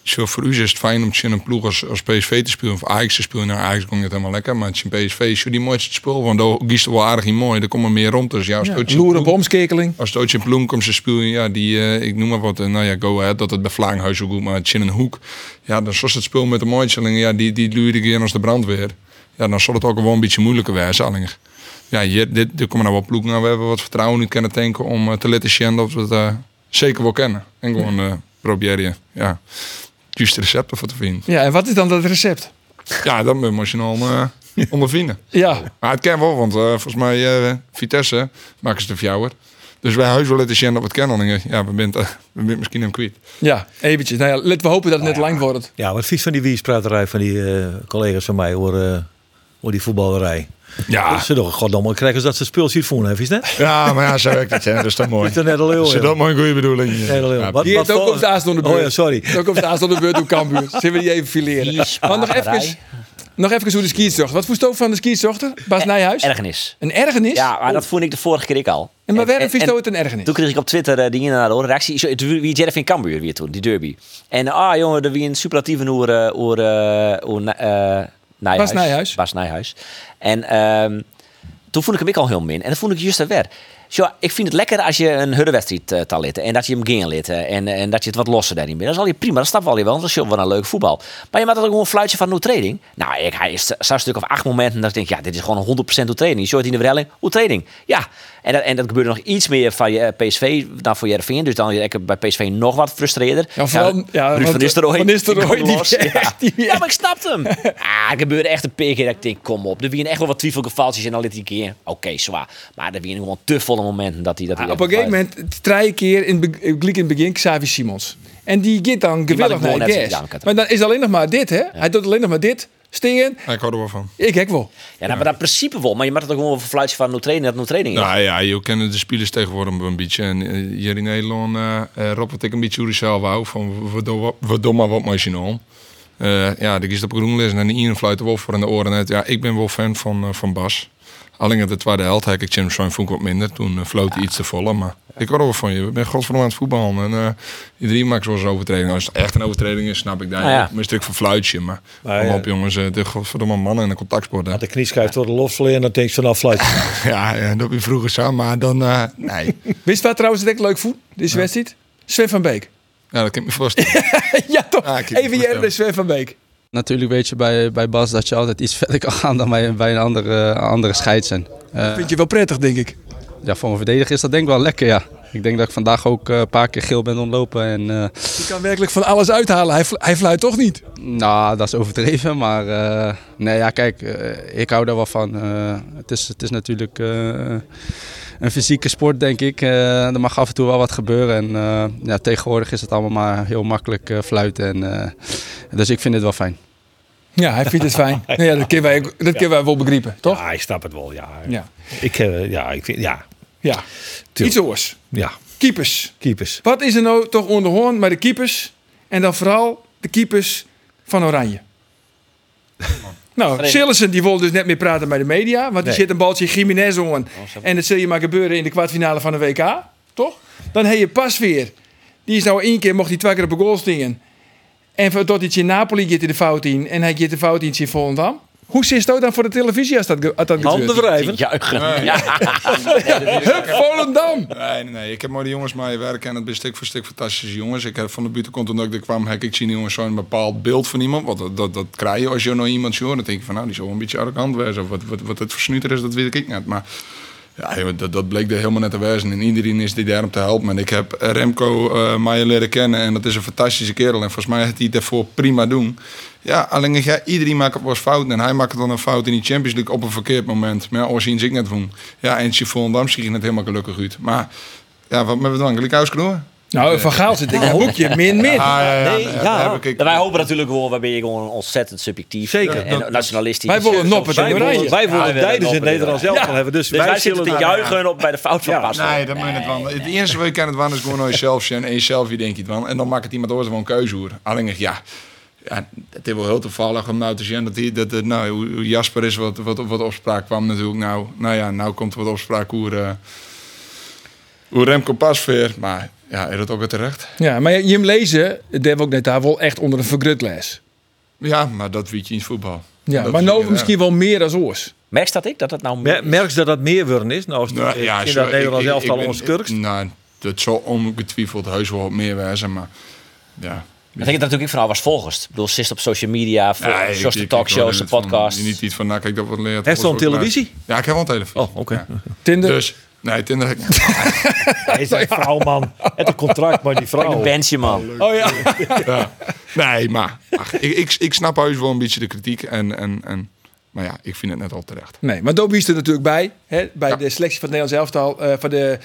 S4: zo voor u is het fijn om in een ploeg als, als PSV te spelen of Ajax te spelen. Nou, Ajax ging het helemaal lekker, maar het is in PSV is die mooiste het spul. Want daar kiest er wel aardig in mooi. Er komen meer rond. Dus ja, als het ooit in een
S1: Loeren
S4: ploeg-
S1: bomskekeling.
S4: als het ooit in Ploem komt, ze spelen, ja, die, eh, ik noem maar wat, eh, nou ja, go ahead, dat het bij Vlaanghuis zo goed, maar het is in een hoek. Ja, dan zoals het spul met de mooitselingen, ja, die, die luurde ik in als de brandweer. Ja, dan zal het ook wel een beetje moeilijker wezen, alleen. Ja, hier, dit, er komen nou wel ploegen aan, we hebben wat vertrouwen nu kunnen tanken om eh, te laten zien dat we het eh, zeker wel kennen. En gewoon eh, proberen, ja, het juiste recept ervoor te vinden.
S1: Ja, en wat is dan dat recept?
S4: Ja, dat moet je nou eh, ondervinden.
S1: Ja,
S4: Maar het kan wel, want eh, volgens mij eh, Vitesse maken ze de fjouwer. Dus wij huis wel laten zien dat we het kennen. Alleen, Ja, we bent, eh, we bent misschien hem kwijt.
S1: Ja, eventjes. Nou ja, laten we hopen dat het net lang wordt.
S7: Ja, wat vies van die wiespraterij van die eh, collega's van mij hoor, eh, hoor die voetballerij.
S4: Ja,
S7: Ze toch, goddomme, krijgen ze dat ze spul ziet voelen, even, hè? Dat
S4: ja maar ja, zo werkt het. Hè. Dat is toch mooi.
S7: is toch net al heel
S4: Is dat
S7: joh.
S4: maar een goede bedoeling?
S7: Net al heel.
S4: Ja,
S7: Wat-
S1: Die
S7: wat
S1: heeft ook
S7: voor-
S1: op de aas door de beurt.
S7: Oh ja, sorry.
S1: Ook op de aas door de beurt door Cambuur. Zullen we die even fileren?
S6: Vies
S1: Maar nog even,
S6: paperij.
S1: nog even hoe de skierzochter. Wat voor stoof van de skierzochter? Bas Nijhuis?
S6: Ergernis.
S1: Een ergernis?
S6: Ja, ah, maar dat vond ik de vorige keer ik al.
S1: En maar waarom
S6: en-
S1: vind je
S6: en-
S1: het een ergernis?
S6: Toen kreeg ik op Twitter eh, die naar de reactie. Zo, het- Wie Jerry in Cambuur weer toen, die derby. En ah jongen, er wie een superlatieve oer eh, oer eh, oer Na- eh, Nijhuis.
S1: Bas Nijhuis.
S6: Bas Nijhuis. En ehm, toen voelde ik hem ik al heel min. En dat voelde ik juist weer. Zo, ik vind het lekker als je een hurrewedstrijd eh tal litten en dat je hem geen lid eh, en, en dat je het wat losser daarin bent. Dat is al je prima, dat snap wel je wel, want dat is wel een leuk voetbal. Maar je maakt dat ook gewoon een fluitje van no training. Nou, ik, hij is zo'n stuk of acht momenten dat ik denk, ja, dit is gewoon een 100% no training. Je soort in de verhelling, no training. Ja, en dat, en dat gebeurde nog iets meer van je eh, PSV dan voor Jervin. Dus dan ik bij PSV nog wat frustreerder.
S1: Ja, vooral- ja,
S6: Ruud
S1: want- eh,
S6: van Nistelrooy.
S1: Van Nistelrooy,
S6: die komt
S1: die
S6: los,
S1: echt- die
S6: ja, maar ik snapte hem. Ah, er gebeurde echt een paar keer dat ik denk, kom op. Er wien echt wel wat twijfelgevaltjes en dan liet hij een keer. Oké, zwaar. Maar er wien gewoon te volle momenten dat hij dat
S1: Ah, op een gegeven moment, drie keer in, het be- ik liep in het begin, Xavi Simons. En die gaat dan gewillig
S6: ik gewoon
S1: naar de
S6: net
S1: gas.
S6: janken.
S1: Maar dan is het alleen nog maar dit, hè? Hij doet alleen nog maar dit. Steen,
S4: ik hou er wel van.
S1: ik hek wel.
S6: Ja, nou, maar dat principe wel. Maar je maakt het ook gewoon over fluitje van no training dat no training is.
S4: Nou ja, je kennen de spelers tegenwoordig wel een beetje. En eh, hier in Nederland eh eh, rob het ik een beetje hoe zelf wou. Van we doen wat- we doen maar wat machinaal. Eh, ja, die kiest op groenlis en de ene fluit de wolf voor in de oren uit. Ja, ik ben wel fan van, eh, van Bas. Alleen de tweede helft heb ik Jim Schoen vond ik wat minder. Toen eh, floot hij iets te volle. Maar ik hoor wel van je. Ik ben godverdomme aan het voetballen. En eh iedereen maakt zo'n overtreding. Als het echt een overtreding is, snap ik daar.
S6: Nou ja.
S4: Een stuk van fluitje. Maar,
S7: Maar,
S4: kom
S7: eh,
S4: op jongens. eh, de godverdomme mannen en de contactsport. hè.
S7: De knie schuift door de lofslee en dan denk je van fluit.
S4: Ja, ja, dat heb je vroeger samen. Maar dan, eh, nee.
S1: Wist wat trouwens dat ik leuk voel, deze wedstrijd? Sven van Beek.
S4: Ja, dat kan ik me voorstellen.
S1: ja, toch?
S4: Ah, ik kan me
S1: Even Jelle en
S4: voorstellen.
S1: Sven van Beek.
S8: Natuurlijk weet je bij, bij Bas dat je altijd iets verder kan gaan dan bij, bij een andere, andere scheidsen. Eh,
S1: Vind je wel prettig, denk ik.
S8: ja, voor een verdediger is dat denk ik wel lekker, ja. Ik denk dat ik vandaag ook eh, een paar keer geel ben ontlopen. En, eh,
S1: Je kan werkelijk van alles uithalen. Hij, fl- hij fluit toch niet?
S8: nou, dat is overdreven, maar eh, nee, ja, kijk, eh, ik hou daar wel van. Eh, het, is, het is natuurlijk eh, een fysieke sport, denk ik. Eh, er mag af en toe wel wat gebeuren. En eh, ja, tegenwoordig is het allemaal maar heel makkelijk eh, fluiten. En, eh, dus ik vind het wel fijn.
S1: Ja, hij vindt het fijn. Nou ja, dat kunnen wij, ook- dat kunnen wij wel begrijpen, toch?
S7: Ja, ik snap het wel, ja.
S1: Ja.
S7: Ik, eh, ja, ik vind, ja,
S1: ja. Iets oors.
S7: ja,
S1: Keepers.
S7: keepers.
S1: Wat is er nou toch onder hoorn bij de keepers? En dan vooral de keepers van Oranje. Nou, Sillessen die wil dus net meer praten bij de media. Want die
S7: Nee. Oh,
S1: zit een baltje Jiménez aan. En dat zul je maar gebeuren in de kwartfinale van de WK. Toch? Dan heb je pas weer. Die is nou één keer, mocht hij twee keer op een goal stingen. En voor- tot iets in Napoli gaat hij de fout in. En hij gaat de fout in in Volendam. Hoe zit het nou dan voor de televisie als dat, ge- als dat
S7: Handen
S1: gebeurt?
S7: wrijven.
S6: Juichen. Ja.
S1: Hup, Volendam!
S4: Nee, nee, nee. Ik heb maar die jongens mee werken en het is stuk voor stuk fantastische jongens. Ik heb van de buiten komt toen ik er kwam, heb ik zien die jongens zo'n bepaald beeld van iemand. Want dat, dat, dat krijg je als je nou iemand zo hoort. Dan denk je van nou, die zal wel een beetje arrogant wezen. Of wat, wat, wat het versnuiter is, dat weet ik niet. Maar ja, joh, dat, dat bleek er helemaal net te wezen. En iedereen is die daar om te helpen. En ik heb Remco eh mij leren kennen. En dat is een fantastische kerel. En volgens mij heeft hij het daarvoor prima doen. Ja, alleen ik, ja, iedereen maakt wel eens fouten. En hij maakt dan een fout in die Champions League op een verkeerd moment. Maar ja, oorzien zie ik net van. Ja, en Volendam zie ik net helemaal gelukkig uit. Maar ja, wat met we dan? Gelijk huisknoer?
S1: Nou, Van Gaal zit in een hoekje. Min, min.
S6: Nee, Ah, ja.
S4: heb ik-
S6: Wij hopen natuurlijk wel, wij ben je gewoon ontzettend subjectief.
S7: Zeker.
S6: En nationalistisch.
S1: Wij willen noppen
S6: Zo-
S1: tegen
S7: Wij
S1: Oranje.
S7: willen, wij willen
S6: Ja,
S7: Dijden
S6: willen
S7: in Nederland zelf
S1: Ja.
S7: al hebben. Dus,
S6: Dus wij zitten te
S7: zullen-
S6: juichen op, bij de fout van
S7: Ja.
S6: Pas.
S4: Nee, dat moet je het wel. Het eerste wat je kan het wel is gewoon aan jezelf zijn. En jezelf, je denkt het wel. En dan maakt het iemand anders wel een keuze hoor. Alleen ik, ja. Ja, het is wel heel toevallig om nou te zien dat, die, dat, dat nou, hoe- hoe Jasper is wat, wat, wat opspraak kwam natuurlijk. Nou, nou ja, nou komt wat opspraak hoe, eh, hoe Remco Pasveer. Maar ja, is dat ook weer terecht?
S1: Ja, maar je hem lezen, dat hebben we ook net daar wel echt onder een vergrutles.
S4: Ja, maar dat weet je in het voetbal.
S1: Ja,
S4: Dat
S1: maar
S4: is
S1: nou
S4: inderdaad.
S1: misschien wel meer dan oors.
S6: Merk dat ik dat dat nou
S7: Mer- Merk je dat dat meer worden is? Nou, als
S4: Nou,
S7: ja, in
S4: zo,
S7: dat Nederland
S4: ik-
S7: zelf
S4: ik-
S7: al
S4: ik ben-
S7: ons kurkst.
S4: ik- Nou, dat zal ongetwijfeld heus wel wat meer wezen, maar ja.
S6: Dat denk ik natuurlijk ook van al was volgens. Ik bedoel, ze is op social media, voor
S4: Nee, ik-
S6: zoals de
S4: ik- ik hoor
S6: talkshows, de
S4: net van-
S6: podcasts.
S4: Niet iets van, nou kijk dat wat leert.
S7: Heeft ze al een televisie?
S4: Ja, ik heb wel een televisie.
S7: Oh, oké.
S4: Ja.
S1: Tinder.
S4: Dus, nee, Tinder heb ik niet.
S7: Hij is een vrouw, man. Het een contract, maar die
S6: Een
S7: vrouw.
S6: bandje, man.
S1: Oh ja.
S4: Ja. Nee, maar ach, ik, ik, ik snap heus wel een beetje de kritiek. En, en, en, maar ja, ik vind het net al terecht.
S1: Nee, maar Dobie is er natuurlijk bij. Hè, bij
S4: Ja.
S1: de selectie van het Nederlands elftal. eh, van, de,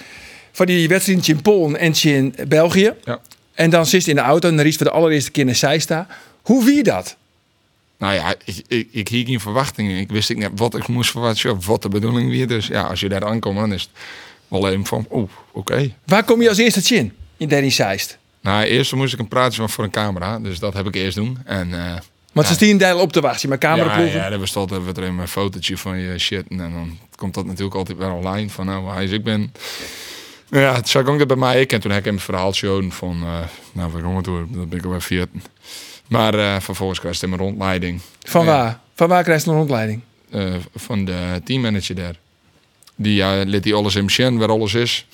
S1: van die wedstrijd in Polen en in België.
S4: Ja.
S1: En dan zit hij in de auto en er is voor de allereerste keer naar Seista. Hoe wie dat?
S4: Nou ja, ik, ik, ik hield geen verwachtingen. Ik wist ik net wat ik moest verwachten. ja, Wat de bedoeling weer. Dus ja, als je daar aankomt, dan is het wel even van, oeh, oké.
S1: Waar kom je als eerste in? In Danny Seist.
S4: Nou, eerst moest ik een praatje maken voor een camera. Dus dat heb ik eerst doen. En... eh,
S1: Want ze stien deel op te wachten. Maar cameraploegen.
S4: Ja, ja, er bestond even er een fotootje van je shit. En dan komt dat natuurlijk altijd weer online. Van nou, hij is, ik ben... Nou Ja, het zag ook dat bij mij ik. En toen heb ik hem het verhaal shown van... eh nou, we jongen door, dat ben ik alweer veertien. Maar eh, vervolgens kreeg ik hem een rondleiding.
S1: Van
S4: Ja.
S1: waar? Van waar krijg je een rondleiding?
S4: eh, van de teammanager daar. Die eh liet die alles in Shen, waar alles is.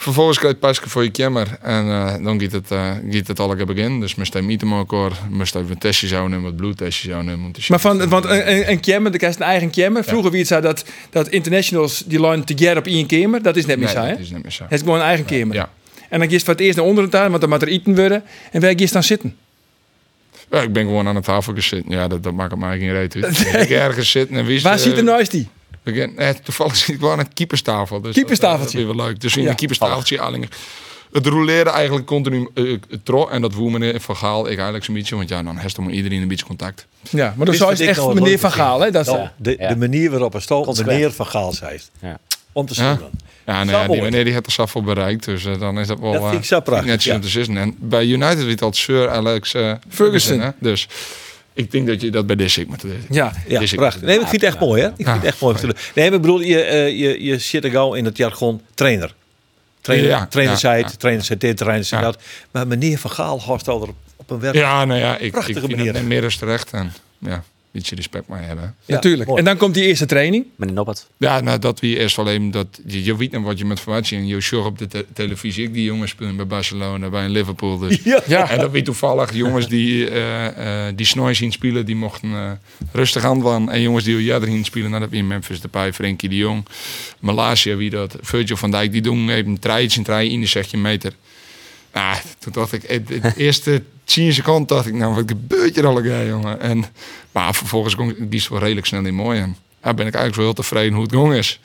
S4: Vervolgens krijg je Paske voor je kamer. En eh, dan gaat het, eh gaat het allemaal begin. Dus moest hij mieten elkaar. Moest even testjes houden, wat bloedtestjes houden. om te zien
S1: Maar van,
S4: of-
S1: want eh, een, een, een jammer, dan krijg je een eigen jammer. Vroeger wie het zei dat, dat internationals die line together op één kamer. Dat is net meer
S4: Nee,
S1: saai. hè?
S4: dat is niet meer zo.
S1: Het is gewoon een eigen kamer.
S4: Ja.
S1: En dan gist voor het eerst naar onderen tuin, want dan moet er eten worden. En waar gist dan zitten?
S4: Ja, ik ben gewoon aan de tafel zitten. Ja, dat, dat maakt mij geen reet uit. Ik Ik ergens zitten en
S7: Dus,
S4: wist... eh,
S1: Waar zit
S7: eh,
S1: er nou eens die?
S4: toevallig zit ik gewoon aan het keeperstafel. Dus
S1: Keeperstafeltje.
S4: Dat, dat is weer wel leuk. Dus in
S1: Ja.
S4: de keeperstafeltje Allinger. Het rouleren eigenlijk continu eh tro. En dat woe meneer Van Gaal, ik eigenlijk zo'n beetje. Want ja, dan heeft er met iedereen een beetje contact.
S1: Ja, maar dan
S7: Is
S1: zou
S7: dat
S1: je
S7: ik
S1: echt
S7: nou wat
S1: meneer
S7: leuk
S1: Van Gaal, hè? Dat is-
S7: Nou, de, de manier waarop een stal
S6: eh, Consequent.
S7: meneer van Gaal zei. om te
S4: Ja.
S7: scoren.
S4: Ja,
S7: Zo
S4: nee, ja, die
S7: mooi.
S4: meneer die heeft er zoveel bereikt, dus eh, dan is dat wel...
S7: Dat vind ik zo
S4: eh,
S7: prachtig,
S4: Net zo
S7: ja.
S4: te zitten. En bij United liet dat Sir Alex eh, Ferguson. hè? Dus ik denk dat je dat bij dit ik moet doen.
S7: Ja, ja
S4: Is ik-
S7: prachtig. Nee, maar ik vind het echt mooi, hè? Ik vind het echt mooi. om te doen. Nee, maar ik bedoel, je, eh, je, je zit er gauw in het jargon trainer. Trainer,
S4: Ja, ja,
S7: trainer
S4: ja,
S7: zei het,
S4: ja.
S7: trainer zei dit, trainer zei
S4: Ja.
S7: dat. Maar meneer Van Gaal hoort al er op een werk.
S4: Ja, nou ja, ik, ik
S7: Prachtige
S4: vind
S7: manier.
S4: het net meer als terecht. En ja, een beetje respect maar hebben.
S7: Ja,
S1: Natuurlijk.
S7: mooi.
S1: En dan komt die eerste training.
S6: Meneer Noppert.
S4: Ja, nou, dat wie eerst alleen dat je, je weet nou wat je met formatie en je zorgt op de te- televisie. Ik die jongens spelen bij Barcelona, bij een Liverpool. Dus.
S7: Ja.
S4: En dat wie toevallig jongens die eh eh die snoei zien spelen, die mochten eh, rustig handelen. En jongens die jadder zien spelen, nou, dat wie Memphis Depay, Frenkie de Jong, Malasia, wie dat, Virgil van Dijk, die doen even een treitje, een treitje in de zetje meter. Nou, toen dacht ik, eh, de eerste 10 seconden dacht ik, nou, wat gebeurt hier allemaal, jongen? En, maar vervolgens kon ik- die is wel redelijk snel in mooi. En daar ben ik eigenlijk wel heel tevreden hoe het gong is.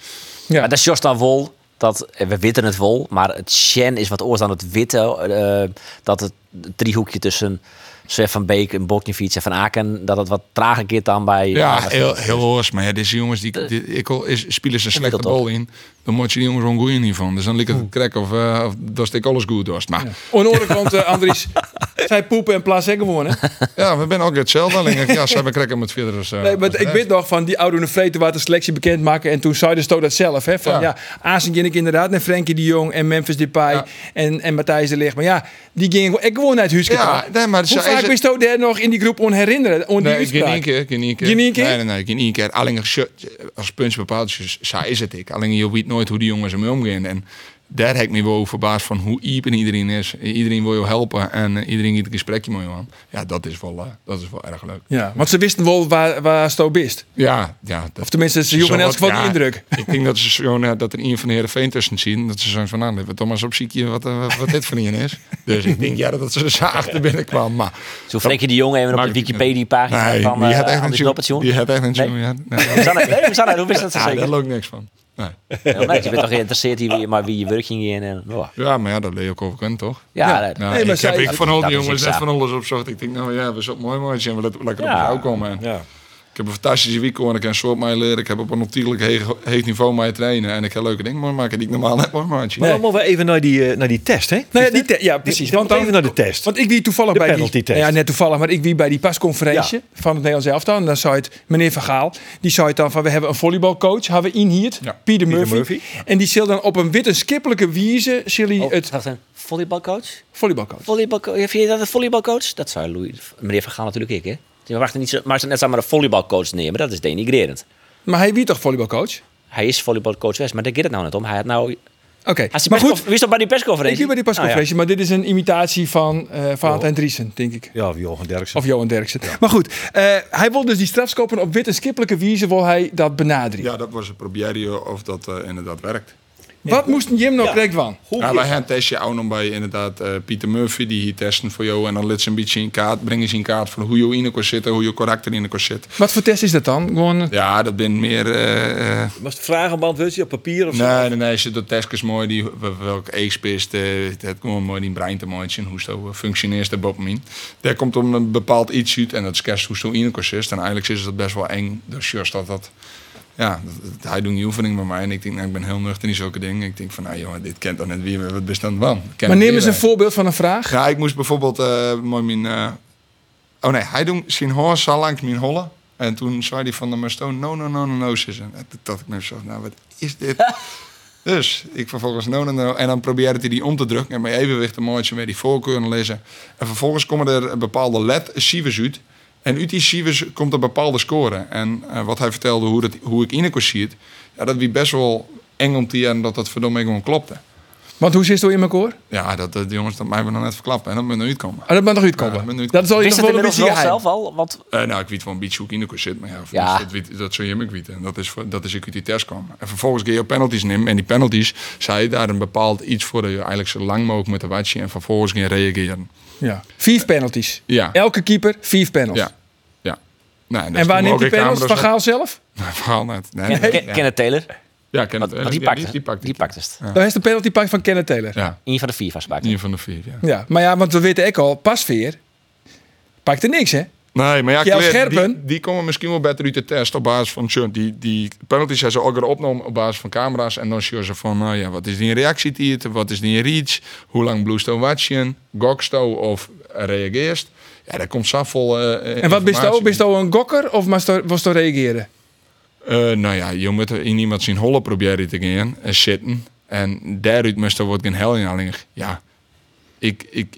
S6: Maar dat is Jos dan Wol. Dat, eh, we witten het wol, maar het Shen is wat oors dan het witte. eh, dat het driehoekje tussen Sven van Beek en Bokjefiets en Van Aken... dat het wat trager keert dan bij... eh,
S4: Ja, heel, heel hoors. Maar ja, deze jongens, die, die- ik al is, spelen ze een slechte
S6: Inmiddels
S4: bal in. Dan moet je die jongens gewoon goed niet van. Dus dan ligt het krek of, eh, of dat ik alles goed dorst. Maar ja,
S1: Aan de andere kant, eh, Andries, zij poepen en plaatsen gewoon. hè?
S4: we zijn ook hetzelfde. Alleen ik, ja, ze hebben krek om het verder. Dus, eh,
S1: Nee, maar
S4: dus,
S1: ik
S4: eh,
S1: weet nog van die oude de Vreten waar de selectie bekendmaken. En toen zeiden ze dat zelf. Hè, van ja,
S4: Ja.
S1: ja Azing en ik inderdaad. En Frenkie de Jong en Memphis Depay
S4: Ja.
S1: en, en Matthijs de Ligt. Maar ja, die gingen gewoon- ik gewoon naar het huisje.
S4: Ja, nee, maar
S1: Hoe
S4: ze-
S1: vaak
S4: ze-
S1: wist je daar nog in die groep on herinneren? On die
S4: Nee, geen
S1: uitspraak?
S4: één keer. Geen één keer.
S1: Geen één keer?
S4: Nee, nee, nee, geen één keer. Alleen als je- als puntje bepaald is, saai is het ik. Alleen je weet nooit hoe die jongens ermee omgaan. En daar heb ik me wel verbaasd van hoe iepen iedereen is. Iedereen wil je helpen en eh, iedereen gaat een gesprekje met je aan. Ja, dat is wel, eh, dat is wel erg leuk.
S1: Ja, want ze wisten wel waar, waar Sto bist.
S4: Ja, ja. Dat,
S1: Of tenminste, ze
S4: Zo
S1: joegen elk
S4: wat,
S1: geval die
S4: ja.
S1: indruk.
S4: Ik denk dat ze zo, nou, dat er een van de Heerenveen tussen zien. Dat ze zijn van, nou, wat Thomas op ziekje, wat, eh, wat, wat dit voor een is. Dus ik denk, ja, dat ze zo achter binnenkwam. Maar
S6: Zo Frenkie de Jong even op
S4: Maakt
S6: de
S4: het niet
S6: Wikipedia-pagina
S4: nee,
S6: van
S4: die
S6: eh,
S4: had echt een
S6: Andries
S4: tjoe-
S6: Noppert, jongen.
S4: Die had echt een
S6: Nee.
S4: tjoe, ja. Nee,
S6: Rosanne, nee, Rosanne, hoe wist dat ze
S4: ja, daar
S6: zeker?
S4: loopt niks van. Nee.
S6: Heel netjes, je bent toch geïnteresseerd hier, weer, maar wie je werking in. En, oh.
S4: Ja, maar ja, dat leer je ook over kunnen, toch?
S6: Ja, dat-
S4: Nou,
S1: Nee, maar
S4: ik heb
S1: zij-
S4: ik van al
S6: dat
S4: die
S6: is
S4: jongens
S6: exact.
S4: net van alles opzocht. Ik denk, nou ja, we zijn mooi mooi en we laten lekker
S6: Ja.
S4: op jou komen. En
S7: Ja.
S4: Ik heb een fantastische week en ik kan soort mij leren. Ik heb op een natuurlijk heeg, heeg niveau mij trainen. En ik ga leuke dingen mooi maken die ik normaal net mooi maak.
S7: Maar dan moeten we even naar die, eh, naar die test, hè?
S1: Nou ja, die te- ja, precies.
S7: Want
S1: Want dan,
S7: even naar de test.
S1: Want ik wie toevallig
S7: De
S1: bij die,
S7: penalty-test.
S1: ja, net toevallig, maar ik wie bij die pasconferentie van het Nederlands elftal. En dan zei het meneer Van Gaal, die zei het dan van we hebben een volleybalcoach, hebben we in hier,
S4: Ja.
S1: Pieter Murphy.
S7: Murphy.
S1: En die zal dan op een witte skippelijke wieze zal hij
S6: Oh,
S1: het
S6: wacht even. Volleybalcoach?
S1: volleybalcoach.
S6: Volleybalco- Vind je dat een volleybalcoach? Dat zou Louis, meneer Van Gaal natuurlijk ik, hè? Die wachten niet zo, maar ze net samen een volleybalcoach neer, maar dat is denigrerend.
S1: Maar hij wie toch volleybalcoach?
S6: Hij is volleybalcoach West, maar daar gaat het nou net om. Hij had nou...
S1: Oké.
S6: Als die
S1: Maar goed,
S6: persconf- Wie is dat bij die Nou
S1: ik
S6: persconferentie?
S1: wie bij die
S4: Ah,
S1: pasconferentie, maar dit is een imitatie van eh
S4: Oh.
S1: Valentijn Driesen, denk ik.
S7: Ja, of Johan Derksen.
S1: Of Johan Derksen. Maar goed, eh, hij wil dus die strafskoppen op witte skippelijke wieze wil hij dat benaderen.
S4: Ja, dat was een proberen of dat eh, inderdaad werkt.
S1: Wat moest Jim nou correct van?
S4: Ja, wij hebben een testje ook nog bij inderdaad eh, Pieter Murphy, die hier testen voor jou. En dan laat ze een beetje in kaart, brengen ze in kaart van hoe je in elkaar zit en hoe je karakter in elkaar zit.
S1: Wat voor test is dat dan? Gewoon eh,
S4: Ja, dat ben meer... eh, eh,
S7: Was het vragenband, weet je, op papier of zo?
S4: nee, nee, nee, ze doet testjes mooi, die, wel- welke eekspist, eh het gewoon mooi die brein te maken, hoe zo eh, functioneert de bovenin. Daar komt om een bepaald iets uit en dat is kerst hoe zo in elkaar zit. En eigenlijk is dat best wel eng, dus juist dat dat... Ja, dat- dat- hij doet een oefening met mij en ik denk, nou, ik ben heel nuchter in zulke dingen. Ik denk van, nou jongen, dit kent toch net wie, wat best dan van?
S1: Maar neem eens een voorbeeld van een vraag.
S4: eh, Ja, ik moest bijvoorbeeld eh, mooi mijn. eh, oh nee, hij doet zijn hoor zo lang mijn hollen. En toen zei hij van de Mastoon: no, no, no, no, no, sis. En toen dacht ik me zo, nou wat is dit? dus ik vervolgens no, no, no. En dan probeerde hij die om te drukken en mijn evenwicht een mooitje met die voorkeuren lezen. En vervolgens komen er een bepaalde led sivers uit. En uit die sivers komt een bepaalde score. En eh, wat hij vertelde hoe, dat, hoe ik in zie, ja, dat wie best wel eng om te jaren dat dat verdomme gewoon klopte.
S1: Want hoe zit het in elkaar?
S4: Ja, dat, dat, jongens, dat mij we nog net verklappen. En dat moet nooit komen.
S1: Ah, dat mag nog
S4: Ja,
S1: uitkomen.
S4: dat mag nog
S1: dat zal je
S6: Wist
S1: nog
S6: dat
S1: wel een
S6: inmiddels
S1: beetje
S6: wel
S1: geheim.
S6: zelf al? Want
S4: Eh, nou, ik weet wel een beetje hoe ik in elkaar zit, maar ja, voor
S6: Ja.
S4: ons, Dat, weet, dat zou je hem weten. En dat is, voor, dat is ik uit die test kwam. En vervolgens ga je op penalties nemen. En die penalties, zei je daar een bepaald iets voor dat je eigenlijk zo lang mogelijk met de watje en vervolgens ging reageren.
S1: Ja. Vijf penalties.
S4: Ja.
S1: Elke keeper, vier penalties.
S4: Ja. ja. Nou, dat
S1: En waar
S4: doen we
S1: neemt die
S4: ook in
S1: penalties van
S4: Camera's
S1: Gaal zelf?
S4: net. Verhaal net. Nee, nee,
S6: Ken- Kenneth Taylor,
S4: Ja, ken
S6: want,
S4: het.
S6: want die,
S4: Ja, Die,
S6: pakt
S4: die pakt
S6: die
S4: het.
S6: pakt het.
S1: Dan is de penalty pak van Kenneth Taylor. Ja.
S4: Ja,
S6: Eén van de vier vast pakt het.
S4: een van de vier. Ja.
S1: Maar ja, want we weten ook al, Pasveer pakt er niks, hè?
S4: Nee, maar ja,
S1: Kjell
S4: Claire,
S1: Scherpen?
S4: Die, die komen misschien wel beter uit de test op basis van Tjunt. Die, die penalties zijn ze ook weer opgenomen op basis van camera's. En dan zie je ze van, nou ja, wat is die reactietiert? Wat is die reach? Hoe lang bloesto watchen? Goksto of reageerst? Ja, daar komt zoveel eh
S1: En wat bist
S4: informatie.
S1: je? Bist je een gokker of moest je- was je reageren?
S4: Eh, nou ja, je moet in iemand zijn holle proberen te gaan en zitten. En daaruit moest er wat geen hel in alleen. Ja, ik, ik,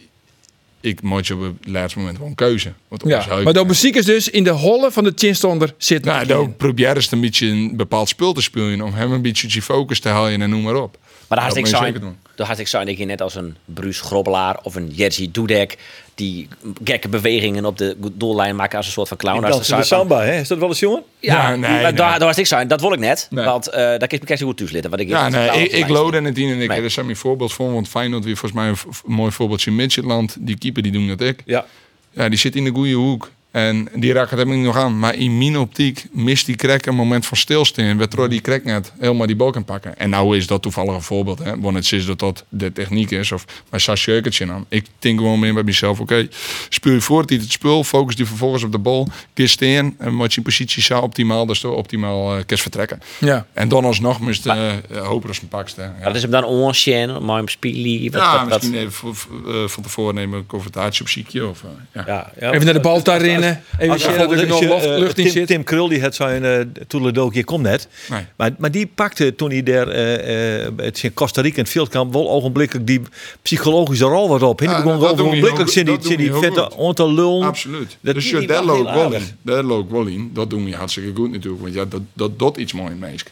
S4: ik moet je op het laatste moment gewoon keuze. Want anders
S1: Ja.
S4: hou ik-
S1: Maar dat muziek is dus in de holle van de chinstonder zit.
S4: Nou,
S1: nog
S4: dan
S1: in.
S4: probeer eens een beetje een bepaald spul te spelen. Om hem een beetje die focus te halen en noem maar op.
S6: Maar de
S4: Dat
S6: hartstikke
S4: moet je
S6: zijn,
S4: zeker doen.
S6: de hartstikke zijn dat je net als een Bruce Grobbelaar of een Jerzy Dudek die gekke bewegingen op de doellijn maken als een soort van clown. Als de
S7: Dat is de
S6: Zuid-
S7: samba, hè? Is dat wel eens jongen?
S6: Ja,
S4: Ja, nee,
S6: maar Daar,
S4: nee.
S6: daar was ik zijn. Dat wil ik net.
S4: Nee.
S6: Want eh daar kan ik me kijk zo goed tussen zitten. Wat ik
S4: Ja, nee, ik, ik
S6: loop.
S4: lood en het in en ik
S6: Nee.
S4: heb er zijn voorbeeld voor. Want Feyenoord weer volgens mij een v- v- mooi voorbeeldje Midgetland. Die keeper die doen dat ik.
S7: Ja.
S4: Ja, die zit in de goede hoek. En die raakt het helemaal niet nog aan. Maar in mijn optiek mist die crack een moment van stilstaan. Waardoor die crack net helemaal die bal kan pakken. En nou is dat toevallig een voorbeeld. Hè? Want het is dat dat de techniek is. Of bij Sas Jurkertje nam. Ik denk gewoon meer bij mezelf. Oké, speel je voort die het spul. Focus die vervolgens op de bal. Kist staan. En wat je positie zou optimaal. Dus toch optimaal eh kist vertrekken.
S1: Ja.
S4: En dan alsnog moest eh hopen als een pakste. Ja.
S6: Dat is hem dan onchain, maar hem spiegel. wat-
S4: Ja,
S6: wat- wat-
S4: misschien even voor- voor- eh, van tevoren nemen een confrontatie op ziekje. Of, eh, ja.
S7: Ja,
S1: Even naar de bal daarin. Even
S7: Als je
S1: zien dat er
S7: bijvoorbeeld-
S1: nog
S7: als
S1: lucht-
S7: je, eh,
S1: lucht in
S7: Tim,
S1: zit.
S7: Tim Krul, die had zijn uh, toedeledokie, komt net.
S4: Nee.
S7: Maar, maar die pakte toen hij daar eh, eh, het is in Costa Rica in het veldkamp wel ogenblikkelijk die psychologische rol wat op. En die
S4: Ja,
S7: begon
S4: dat doen we
S7: ogenblikkelijk
S4: heel
S7: zit die,
S4: goed.
S7: zit
S4: Dat doen
S7: die
S4: we heel
S7: vette
S4: goed.
S7: on te lullen.
S4: Absoluut.
S7: Dat
S4: dus
S7: die-
S4: ja,
S7: die
S4: daar
S7: was heel
S4: loopt wel in.
S7: aardig.
S4: Daar loopt wel in. Dat doen we hartstikke goed natuurlijk. Want ja, dat, dat, dat iets mooi in meest.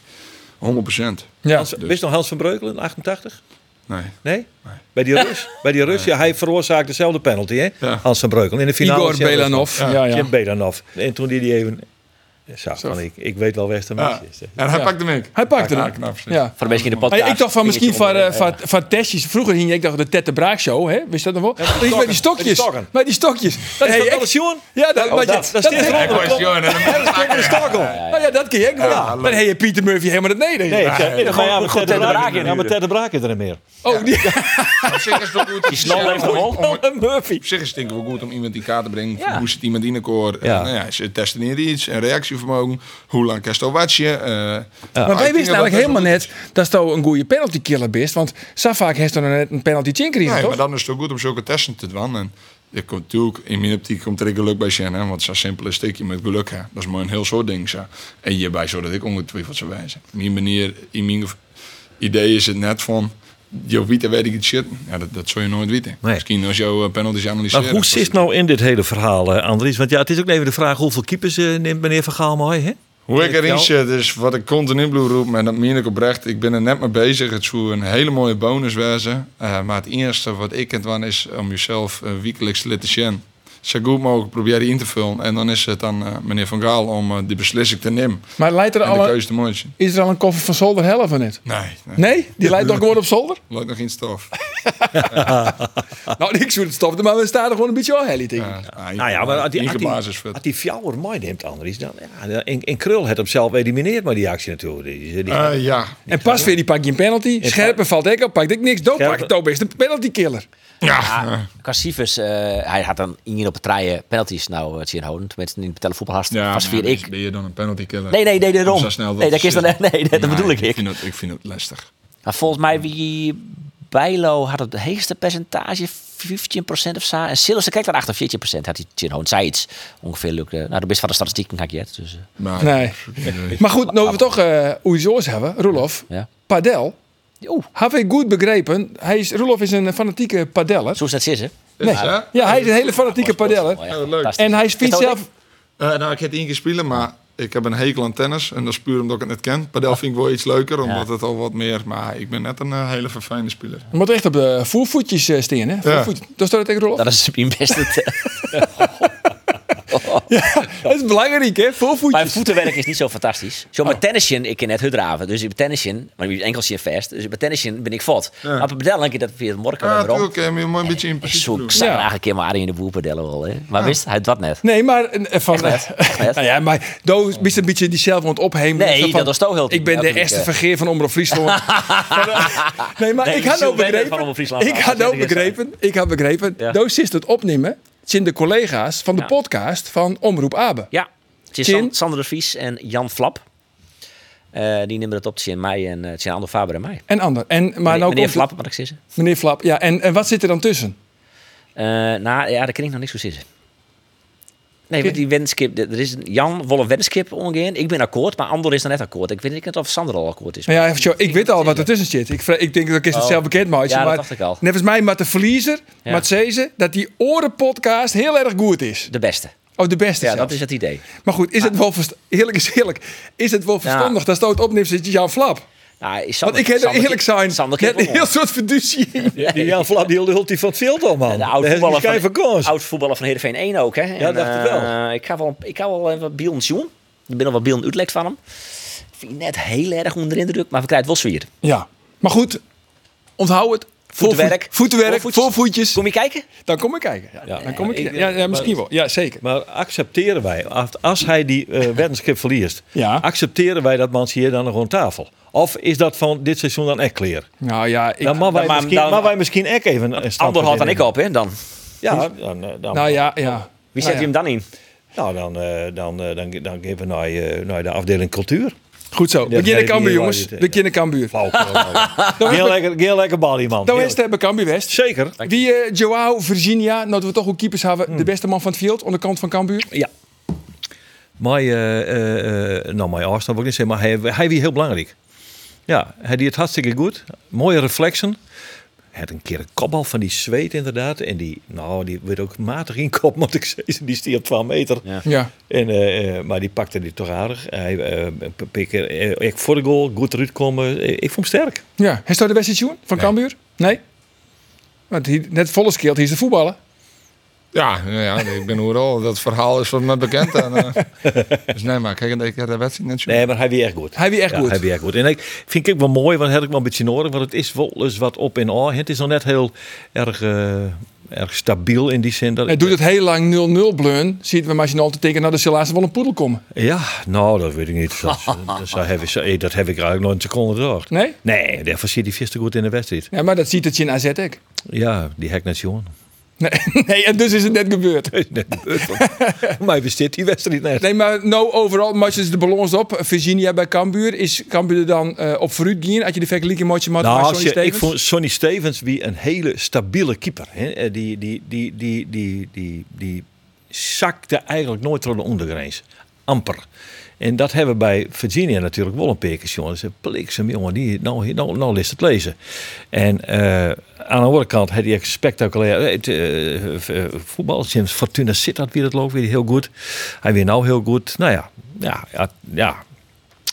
S4: 100
S1: Ja.
S7: Hans- Wist nog Hans van Breukelen, 88?
S4: Dus- Nee.
S7: Nee? Bij die Rus? Bij die Rus, ja, hij veroorzaakte dezelfde penalty, hè?
S4: Ja.
S7: Hans van Breukelen. In de finale.
S1: Igor
S7: Champions League.
S1: Belanov. Ja, ja.
S7: Jim Belanov. En toen die die even... Zo, van, ik, ik weet wel West
S4: Ja. En hij pakt hem ik.
S1: Hij pakte
S4: Ja,
S1: hem.
S4: knap. zeg.
S1: Ja.
S6: Voor de mensen in de
S1: Maar
S6: podcast.
S1: ik dacht van misschien van,
S6: dingetje
S1: eh,
S6: onder-
S1: van, van testjes. Vroeger hing je, ik dacht de Tette Braak Show, hè? Wist je dat nog wel?
S7: met die
S1: Iets met die
S7: stokken.
S1: stokjes.
S7: Met die stokken.
S1: Met die stokjes.
S7: Dat is
S1: Hey,
S7: toch
S1: ik-
S7: alles, jongen?
S1: Ja, dat,
S7: Oh,
S1: wat je-
S7: dat, dat is dit
S4: Hij
S7: eronder.
S4: was jongen.
S7: Ergens de stakel.
S1: Oh ja, dat kun je ook wel.
S4: Ja,
S1: dan heb je Pieter Murphy helemaal het Nederlands.
S7: Nee, ik zei, nee, maar ja, maar
S6: gewoon
S7: Ted de
S6: Ted de
S7: Braak
S6: Braak
S7: in. Ja, maar
S6: inhuren.
S7: Ted de Braak is er niet meer.
S1: Oh, die,
S4: Op zich is het wel goed.
S6: snel heeft de bal.
S4: Om-
S1: Murphy.
S4: Op zich is het denk ik wel goed om iemand in kaart te brengen. van
S6: Ja.
S4: Hoe zit iemand in elkaar?
S7: Ja.
S4: Ja. Nou ja, ze testen hier iets. En reactievermogen. Hoe lang eh, kan je watchen?
S1: Maar wij wisten eigenlijk helemaal net dat je een goede penalty killer bent. Want zo vaak heeft er nog net een penalty chin gekregen,
S4: Nee, maar
S1: toch?
S4: dan is het ook goed om zulke testen te doen. En je komt natuurlijk, in mijn optiek komt er geluk bij zijn. Hè? Want zo simpel is het je met geluk. Hè? Dat is maar een heel soort ding. Zo. En hierbij zou dat ik ongetwijfeld zou wijzen. Mijn manier, in mijn gev- idee is het net van... Je weet en weet ik het shit. Ja, dat, dat zou je nooit weten.
S7: Nee.
S4: Misschien als jouw eh, penalties analyseren.
S7: Maar hoe
S4: Dat
S7: zit
S4: is-
S7: nou in dit hele verhaal, eh, Andries? Want ja, het is ook even de vraag hoeveel keepers eh, neemt meneer Van Gaal mooi, hè?
S4: Hoe ik erin zit, is wat ik continu bloed roep. En dat meen ik oprecht. Ik ben er net mee bezig. Het zou een hele mooie bonus wezen. Eh, maar het eerste wat ik het doen is om jezelf eh, wekelijks te laten zien. Zo goed mogelijk proberen in te vullen. En dan is het aan eh, meneer Van Gaal om eh, die beslissing te nemen.
S1: Maar leidt er
S4: En
S1: al
S4: de
S1: een-
S4: keuze te maken.
S1: is er al een koffer van zolder helft van net?
S4: Nee, nee.
S1: Nee? Die leidt nog gewoon op zolder?
S4: Loopt nog geen stof.
S1: Nou, ik zou het stoppen, maar we staan er gewoon een beetje al helly tegen.
S7: Nou ja, maar als die, als die,
S4: basis
S7: als die Fjouwer mooi neemt, Andries, dan... Ja, dan- en, en Krul het hem zelf elimineerd, maar die actie natuurlijk. Die, die,
S4: Eh, ja.
S1: En pas weer die pak je een penalty. Scherpen valt ik op, pakt ik niks. Doop pak Tobe is een penalty killer.
S4: Ja.
S6: Cassivus, Ah, eh, hij had dan in op het treien penalties nou het zien houden. Tenminste, in de televoetbal had
S4: Ja,
S6: was
S4: maar
S6: vier
S4: dan
S6: ik.
S4: Ben je dan een penalty killer?
S6: Nee, nee, nee, daarom.
S4: Om zo snel wat
S6: Nee, dat
S4: te
S6: is dan-
S4: zeggen.
S6: nee, dat bedoel ik.
S4: vind het, ik vind het lastig.
S6: Maar volgens mij wie Bijlo had het hoogste percentage, 15% of zo. En Sillissen kijkt daar achter 14% had hij chin houden. Zij iets ongeveer lukte. Nou, de best van de statistieken had je het. Dus, eh,
S4: Maar,
S1: Nee. Maar goed, nou we toch eh Oeizoors hebben, Roelof.
S6: ja.
S1: Padel.
S6: Oeh,
S1: Heb ik goed begrepen. Hij is, Roelof is een fanatieke padeller.
S6: zo is dat zissen.
S4: Nee. Ja,
S1: Ja, hij is een hele fanatieke padeller.
S4: Oh,
S1: En hij speelt zelf...
S4: Eh, nou, ik heb het één keer spelen, maar ik heb een hekel aan tennis. En dat is puur omdat ik het net ken. Padel vind ik wel iets leuker, omdat het al wat meer... Maar ik ben net een eh, hele verfijnde speler.
S1: Je moet echt op de voorvoetjes eh, staan, hè? Voorvoet. Dat staat het tegen Roelof.
S6: Dat is mijn beste. te-
S1: Dat is belangrijk, hè?
S6: Mijn
S1: Voorvoetjes.
S6: voetenwerk is niet zo fantastisch. Zo
S4: Oh.
S6: met tennisjen, ik ken net hudraven. Dus bij tennisjen, maar ik enkeltje vest. Dus bij tennisjen ben ik vot. Maar bij padellen, denk ik dat via het morgen
S4: Ja,
S6: weer om.
S4: natuurlijk. eh, Je moet een beetje in
S6: Ik
S4: principe
S6: zou
S4: doen.
S6: ik zou
S1: Ja.
S6: eigenlijk een keer maar Arie in de boer padellen wel. Hè. Maar wist hij dat net?
S1: Nee, maar eh, van.
S6: Echt net? Echt net?
S1: nou ja, maar Doe is een beetje die zelf want ophemelen.
S6: Nee,
S1: Zo van,
S6: dat was toch heel
S1: Ik ben de
S6: natuurlijk,
S1: eerste
S6: eh.
S1: vergeer van Omroep Friesland. Maar, eh, nee, maar
S6: Nee,
S1: ik had
S6: Sylvana
S1: ook
S6: van
S1: begrepen.
S6: Omroep Friesland.
S1: Ik had
S6: Dat
S1: ook
S6: is het
S1: begrepen. Ik had begrepen.
S6: Ja.
S1: Doos is het opnemen Het zijn de collega's van de
S6: Ja.
S1: podcast van Omroep Abe.
S6: Ja, het is
S1: Chin.
S6: San- Sander de Vries en Jan Flap. Eh, die nemen het op. Het zijn mij en eh, het zijn Ander Faber en mij.
S1: En ander. En, maar
S6: meneer
S1: nou
S6: meneer
S1: komt
S6: Flap, wat ik zeggen.
S1: Meneer Flap, ja. En, en wat zit er dan tussen?
S6: Eh nou, ja, daar kan ik nog niks voor zitten. Nee, want die wenskip, er is een- Jan wil een wenskip omgaan. Ik ben akkoord, maar Andor is dan net akkoord. Ik weet niet of Sander al akkoord is.
S1: Nou ja, even zo, ik weet al wat er tussen zit. Ik, vra- ik denk dat ik is het
S6: Oh.
S1: zelf bekend maak.
S6: Ja, dat
S1: maar
S6: dacht ik al.
S1: Net als mij, maar de verliezer,
S6: Ja.
S1: maar zei ze dat die orenpodcast heel erg goed is.
S6: De beste.
S1: Of de beste
S6: Ja,
S1: zelfs.
S6: dat is het idee.
S1: Maar goed, is het wel verst- eerlijk is eerlijk. Is het wel verstandig dat stoot opneemt zit je Jan Flap?
S6: Nou, is
S1: Want
S6: Sander-
S1: ik heb er
S6: Sander-
S1: eerlijk zijn.
S6: Sander
S1: net
S6: kan
S1: een
S6: wel.
S1: heel soort verduzie.
S7: Die, die Jan Vlaam, die hield die van het veld al, man.
S6: De
S7: Daar
S6: oud
S7: is die
S6: voetballer
S7: schijn
S6: van,
S7: van kans.
S6: oud voetballer van Heerenveen 1 ook. Hè? En,
S7: dacht ik wel.
S6: eh, ik ga wel. Ik ga wel even wat Bion zien. Ik ben al wat Bion uitlekt van hem. Vind ik net heel erg onder de indruk, maar we krijgen het wel zwier.
S1: Ja, maar goed, onthoud het.
S6: Voetwerk.
S1: Voetwerk,
S6: Voorvoetjes.
S1: voorvoetjes.
S6: Kom je kijken?
S1: Dan kom ik kijken. Ja, dan kom ik,
S7: ik-
S1: ja, ja, misschien wel. Ja, zeker.
S7: Maar accepteren wij, als- als hij die eh weddenschap verliest,
S1: Ja.
S7: accepteren wij dat man hier dan nog aan tafel? Of is dat van dit seizoen dan echt clear?
S1: Nou ja, ik,
S7: Dan mag wij,
S6: maar-
S7: misschien,
S6: dan-
S7: mag wij misschien echt even een stap
S6: Ander had dan ik op, hè? Dan.
S7: Ja, dan, eh, dan,
S1: nou ja, ja.
S6: Wie zet je hem dan in?
S7: nou, dan, eh, dan, eh, dan, dan geven we naar, eh, naar de afdeling cultuur.
S1: Goed zo.
S7: Ja,
S1: Begin de
S7: nee,
S1: Cambuur,
S7: die-
S1: jongens.
S7: die-
S1: Begin de Cambuur.
S7: Heel lekker, heel lekker balie, man.
S1: Dan
S7: Heel-
S1: is het hebben Cambuur West.
S7: Zeker.
S1: Wie eh, Joao Virginia, nou dat we toch ook keepers hebben, de beste man van het veld, aan de kant van Cambuur.
S7: Ja. Maar, eh, eh, eh, nou, mijn Arsenal wil ik niet zeggen, maar hij, hij was heel belangrijk. Ja, hij deed het hartstikke goed. Mooie reflexen. Hij had een keer een kopbal van die zweet inderdaad. En die, nou, die werd ook matig in kop, moet ik zeggen. Die stierf 12 meter.
S1: Ja.
S7: En, eh, eh, maar die pakte die toch aardig. Hij, eh, een paar keer, eh, ik voor de goal, goed eruit komen. Eh, Ik vond hem sterk.
S1: Ja. Heeft hij de beste tune van Cambuur? Nee? Want hier, net volle skilled, hier is de voetballer.
S4: Ja, nou ja, ik ben al. Dat verhaal is wat me bekend. En, eh, dus nee, maar kijk, ik heb de wedstrijd net zo.
S7: Nee, maar hij weer echt goed.
S1: Hij weer echt
S7: Ja,
S1: goed.
S7: Hij weer echt goed. En ik vind ik ook wel mooi, want dat heb ik wel een beetje nodig. Want het is wel eens wat op en aan. Het is nog net heel erg, eh, erg stabiel in die zin. Dat
S1: Hij doet het heel lang 0-0 bleun. Ziet we maar je nou te tekenen, nou dan zal laatst wel een poedel komen.
S7: Ja, nou, dat weet ik niet. Dat, dat, zou heb, ik, eh, dat heb ik eigenlijk nooit een seconde gedacht.
S1: Nee?
S7: Nee, daarvoor zit die visten goed in de wedstrijd.
S1: Ja, maar dat ziet het je in AZ ook.
S7: Ja, die hek net jongen.
S1: Nee, nee, en dus is het net gebeurd.
S7: Maar besteedt die wedstrijd net.
S1: Nee, maar nou overal matches de balans op. Virginia bij Cambuur. Is Cambuur dan eh, op vooruit gaan? Had je de vergelijking match met
S7: Nou,
S1: Sonny
S7: als je, ik
S1: Stevens?
S7: vond Sonny Stevens wie een hele stabiele keeper. Hè. Eh, Die, die, die, die, die, die, die zakte eigenlijk nooit door de ondergrens. Amper. En dat hebben we bij Virginia natuurlijk wel een peker, jongens. Een Bliksem, jongen, die, nou, nou, nou is het lezen. En eh, aan de andere kant had hij echt spectaculair het, eh, eh, voetbal. James Fortuna zit dat weer, het loopt weer heel goed. Hij weer nou heel goed. Nou ja, ja, ja, ja.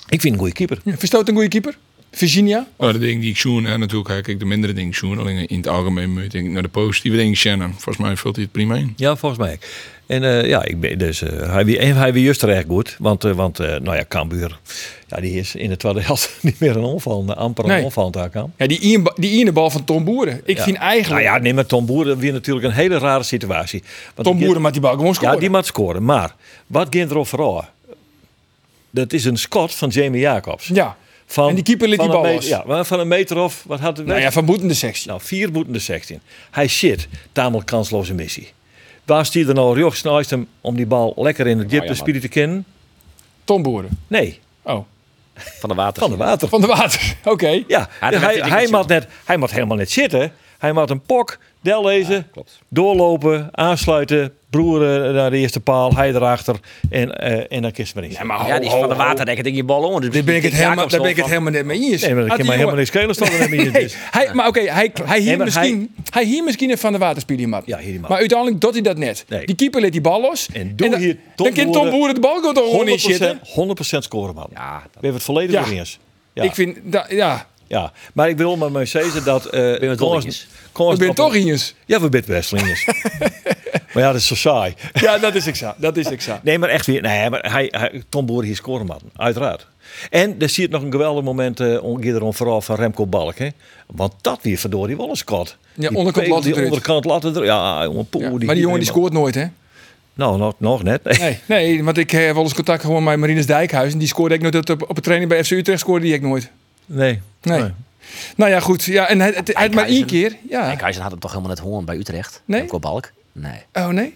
S7: ik vind hem een goede keeper.
S1: Ja, Verstoot een goede keeper? Virginia?
S4: Nou, de dingen die ik zoen, en natuurlijk kijk ik de mindere dingen zoen. Alleen in het algemeen moet ik naar de positieve dingen shannon. Volgens mij vult hij het prima in.
S7: Ja, volgens mij. En eh, ja, ik ben, dus, eh, hij, wie- en hij weer juist terecht goed. Want, eh, want eh, nou ja, Cambuur, ja, die is in de tweede helft niet meer een onval. Amper een
S1: Nee.
S7: onval daar kan.
S1: Ja, die ene- die ene bal van Tom Boeren. Ik vind
S7: Nou
S1: eigenlijk...
S7: ja, nee, maar Tom Boeren weer natuurlijk een hele rare situatie. Want
S1: Tom
S7: die-
S1: Boeren maakt die bal gewoon scoren.
S7: Ja, die mag scoren. Maar wat ging er overal? Dat is een schot van Jamie Jacobs.
S1: Ja.
S7: Van,
S1: En die keeper liet
S7: van
S1: die
S7: een
S1: bal
S7: meter-
S1: los.
S7: Ja, maar van een meter of, wat had het
S1: Nou ja, van boetende sectie.
S7: Nou, vier boeten de 16. Hij shit, tamelijk kansloze missie. Waar stier er nou Rjoch naast hem om die bal lekker in het
S1: Oh
S7: dip te spelen te kennen?
S1: Tom Boeren.
S7: Nee,
S1: Oh,
S6: Van de water.
S7: van de water.
S1: van de water. Oké.
S7: Ja,
S6: dan
S7: hij,
S6: heeft hij
S7: hij,
S6: niks
S7: mag net, hij mag helemaal net zitten. Hij mag een pok, del lezen, doorlopen, aansluiten, broeren naar de eerste paal, hij erachter en, eh, en dan kist maar in.
S1: maar
S6: Ja, die is van de water. Denk ik je bal onder. Dus
S1: Daar ben ik het helemaal, daar ben ik het helemaal net mee eens.
S7: Nee, maar
S1: Had
S7: dat kan
S1: die
S7: mij helemaal
S1: jongen-
S7: niks schelen staan. wanneer hij het
S1: Nee,
S7: is.
S1: hij, maar oké, hij, hij, hier
S7: Nee, maar
S1: misschien, hij... hier misschien een van de waterspielen man.
S7: Ja, hier die man.
S1: Maar uiteindelijk doet hij dat net.
S7: Nee.
S1: Die keeper liet die bal los.
S7: En doe
S1: dan,
S7: hier Tom
S1: dan kan Tom
S7: Boeren
S1: Boeren de bal gewoon toch gewoon in
S7: 100%,
S1: zitten.
S7: 100 scoren, man.
S6: Ja,
S7: We hebben het volledig
S1: Ja.
S7: weer eens. Ja.
S1: Ik vind, da- ja,
S7: Ja, maar ik wil maar mee zeggen dat... eh ben
S6: het wel eens?
S1: we zijn toch eens.
S7: Ja, we bent wrestlingers. maar ja, dat is zo saai.
S1: Ja, dat is exact. Dat is exact.
S7: Nee, maar echt weer. Nee, maar hij, hij, Tom Boer hier scoren, man. Uiteraard. En er zie je nog een geweldig moment eh on- eerder vooral van Remco Balk. Hè? Want dat weer verdorie wel een squat.
S1: Ja, onderkant latte
S7: Die
S1: eruit.
S7: onderkant latte er. Ja, jongen, poeh,
S1: Ja,
S7: die
S1: maar die jongen die
S7: man.
S1: scoort nooit, hè?
S7: Nou, nog, nog net.
S1: Nee, nee, want ik eh, heb wel eens contact gewoon met Marines Dijkhuis. En die scoorde ik nooit op, op een training bij FC Utrecht. Scoorde die ik nooit.
S7: nee.
S1: Nee. Nou ja, goed. Ja, en hij, het, hij had maar één
S6: Dijkhuizen.
S1: keer. Ja.
S6: Enkhuizen had hem toch helemaal net hoorn bij Utrecht?
S1: Nee?
S6: Remco Balk? Nee.
S1: Oh nee?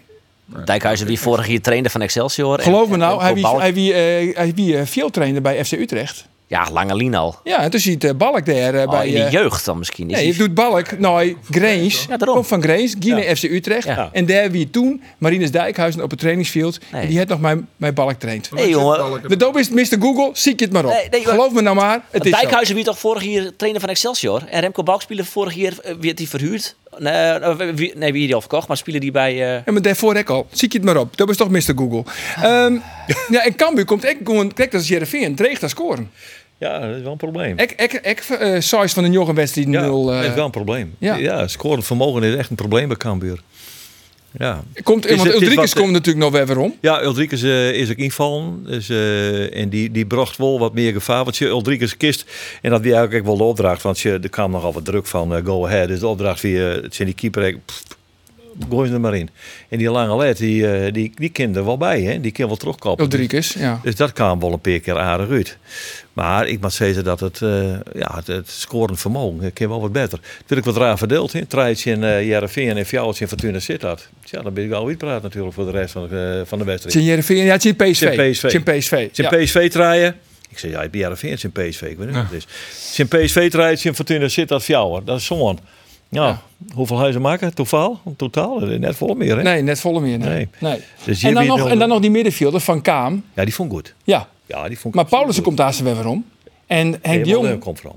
S6: Dijkhuizen, die vorig jaar trainde van Excelsior. en-
S1: Geloof me
S6: en-
S1: nou,
S6: en
S1: hij wie,
S6: Balk-
S1: hij wie, eh, hij wie eh, veel trainde bij FC Utrecht.
S6: Ja, Langelien al.
S1: Ja, en toen ziet eh, Balk daar eh,
S6: Al
S1: bij...
S6: in de
S1: eh,
S6: jeugd dan misschien. Oh, Is
S1: Nee,
S6: hij-
S1: je doet Balk, Nooi, Grains. Komt van Grains, Guinea FC Utrecht.
S6: Ja.
S1: En daar wie toen Marines Dijkhuizen op het trainingsveld.
S6: Nee.
S1: En die had nog mijn, mijn Balk traind.
S6: Nee, jongen.
S1: De doop is Mr. Google, ziek je het maar op.
S6: Nee, nee, maar-
S1: Geloof me nou maar, het is zo.
S6: Dijkhuizen wie toch vorig jaar trainer van Excelsior. En Remco Balk speelde vorig jaar, eh, werd die verhuurd. Nee, eh, wie- nee, wie die al verkocht, maar speelde die bij... eh,
S1: Ja, maar daarvoor ik al. Zie je het maar op. Dat is toch Mr. Google. Ehm, ja, en Cambuur komt echt gewoon... Kijk, dat is Jereveen. Dreigt dat scoren.
S7: Ja, dat is wel een probleem.
S1: Ik, ik, ik, eh size van de jongen wedstrijd
S7: Ja,
S1: 0.
S7: dat
S1: eh,
S7: is wel een probleem.
S1: ja.
S7: Ja, scorend vermogen is echt een probleem bij Cambuur. Ja,
S1: komt,
S7: Is
S1: want
S7: het- is
S1: Ulrikes
S7: wat-
S1: komt natuurlijk nog weer weer om.
S7: ja Ulrikes eh, is ook invallen. Dus, eh, en die, die bracht wel wat meer gevaar. Want je Ulrikes kist. En dat die eigenlijk ook wel de opdracht. Want je, er kwam nogal wat druk van eh, go ahead. Dus de opdracht via het zijn die keeper. eigenlijk, pff, Gooi ze er maar in. En die lange led, die, eh, die, die kan er wel bij. Hè? Die kan wel terugkoppelen.
S1: Ulrikes, ja.
S7: Dus dat kwam wel een paar keer aardig uit. Maar ik moet zeggen dat het, eh ja, het, het scorend vermogen eh, kan wel wat beter. Toen ik wat raar verdeeld, hè, Trijtje en eh Jarreveen en Fjouwertje en Fortuna Sittard. Ja, dan ben ik wel uitpraat natuurlijk voor de rest van, eh, van de wedstrijd.
S1: Zijn Jereveen? Ja, het is PSV.
S7: Het is PSV.
S1: Het is PSV.
S7: Zijn
S1: ja.
S7: PSV traaien. Ik zei, ja, ik ben Jarreveen, het zijn PSV. Ik weet niet wat het is. Zijn PSV traaien, zijn Fortuna Sittard, Fjouwer. Dat is zo'n. Nou, hoeveel huizen maken? Totaal? Totaal? Net vol meer, hè?
S1: Nee, net volle meer. Nee.
S7: Nee.
S1: Nee.
S7: Dus hier
S1: En, dan
S7: weer
S1: nog,
S7: nul-
S1: en dan nog die middenvelder van Kaam.
S7: Ja, die vond ik goed.
S1: Ja,
S7: Ja, die vond ik
S1: maar
S7: absoluut
S1: Paulussen
S7: goed.
S1: komt daar ze weer weer om. En Henk de
S7: Helemaal leuk
S1: Jong.
S7: komt van.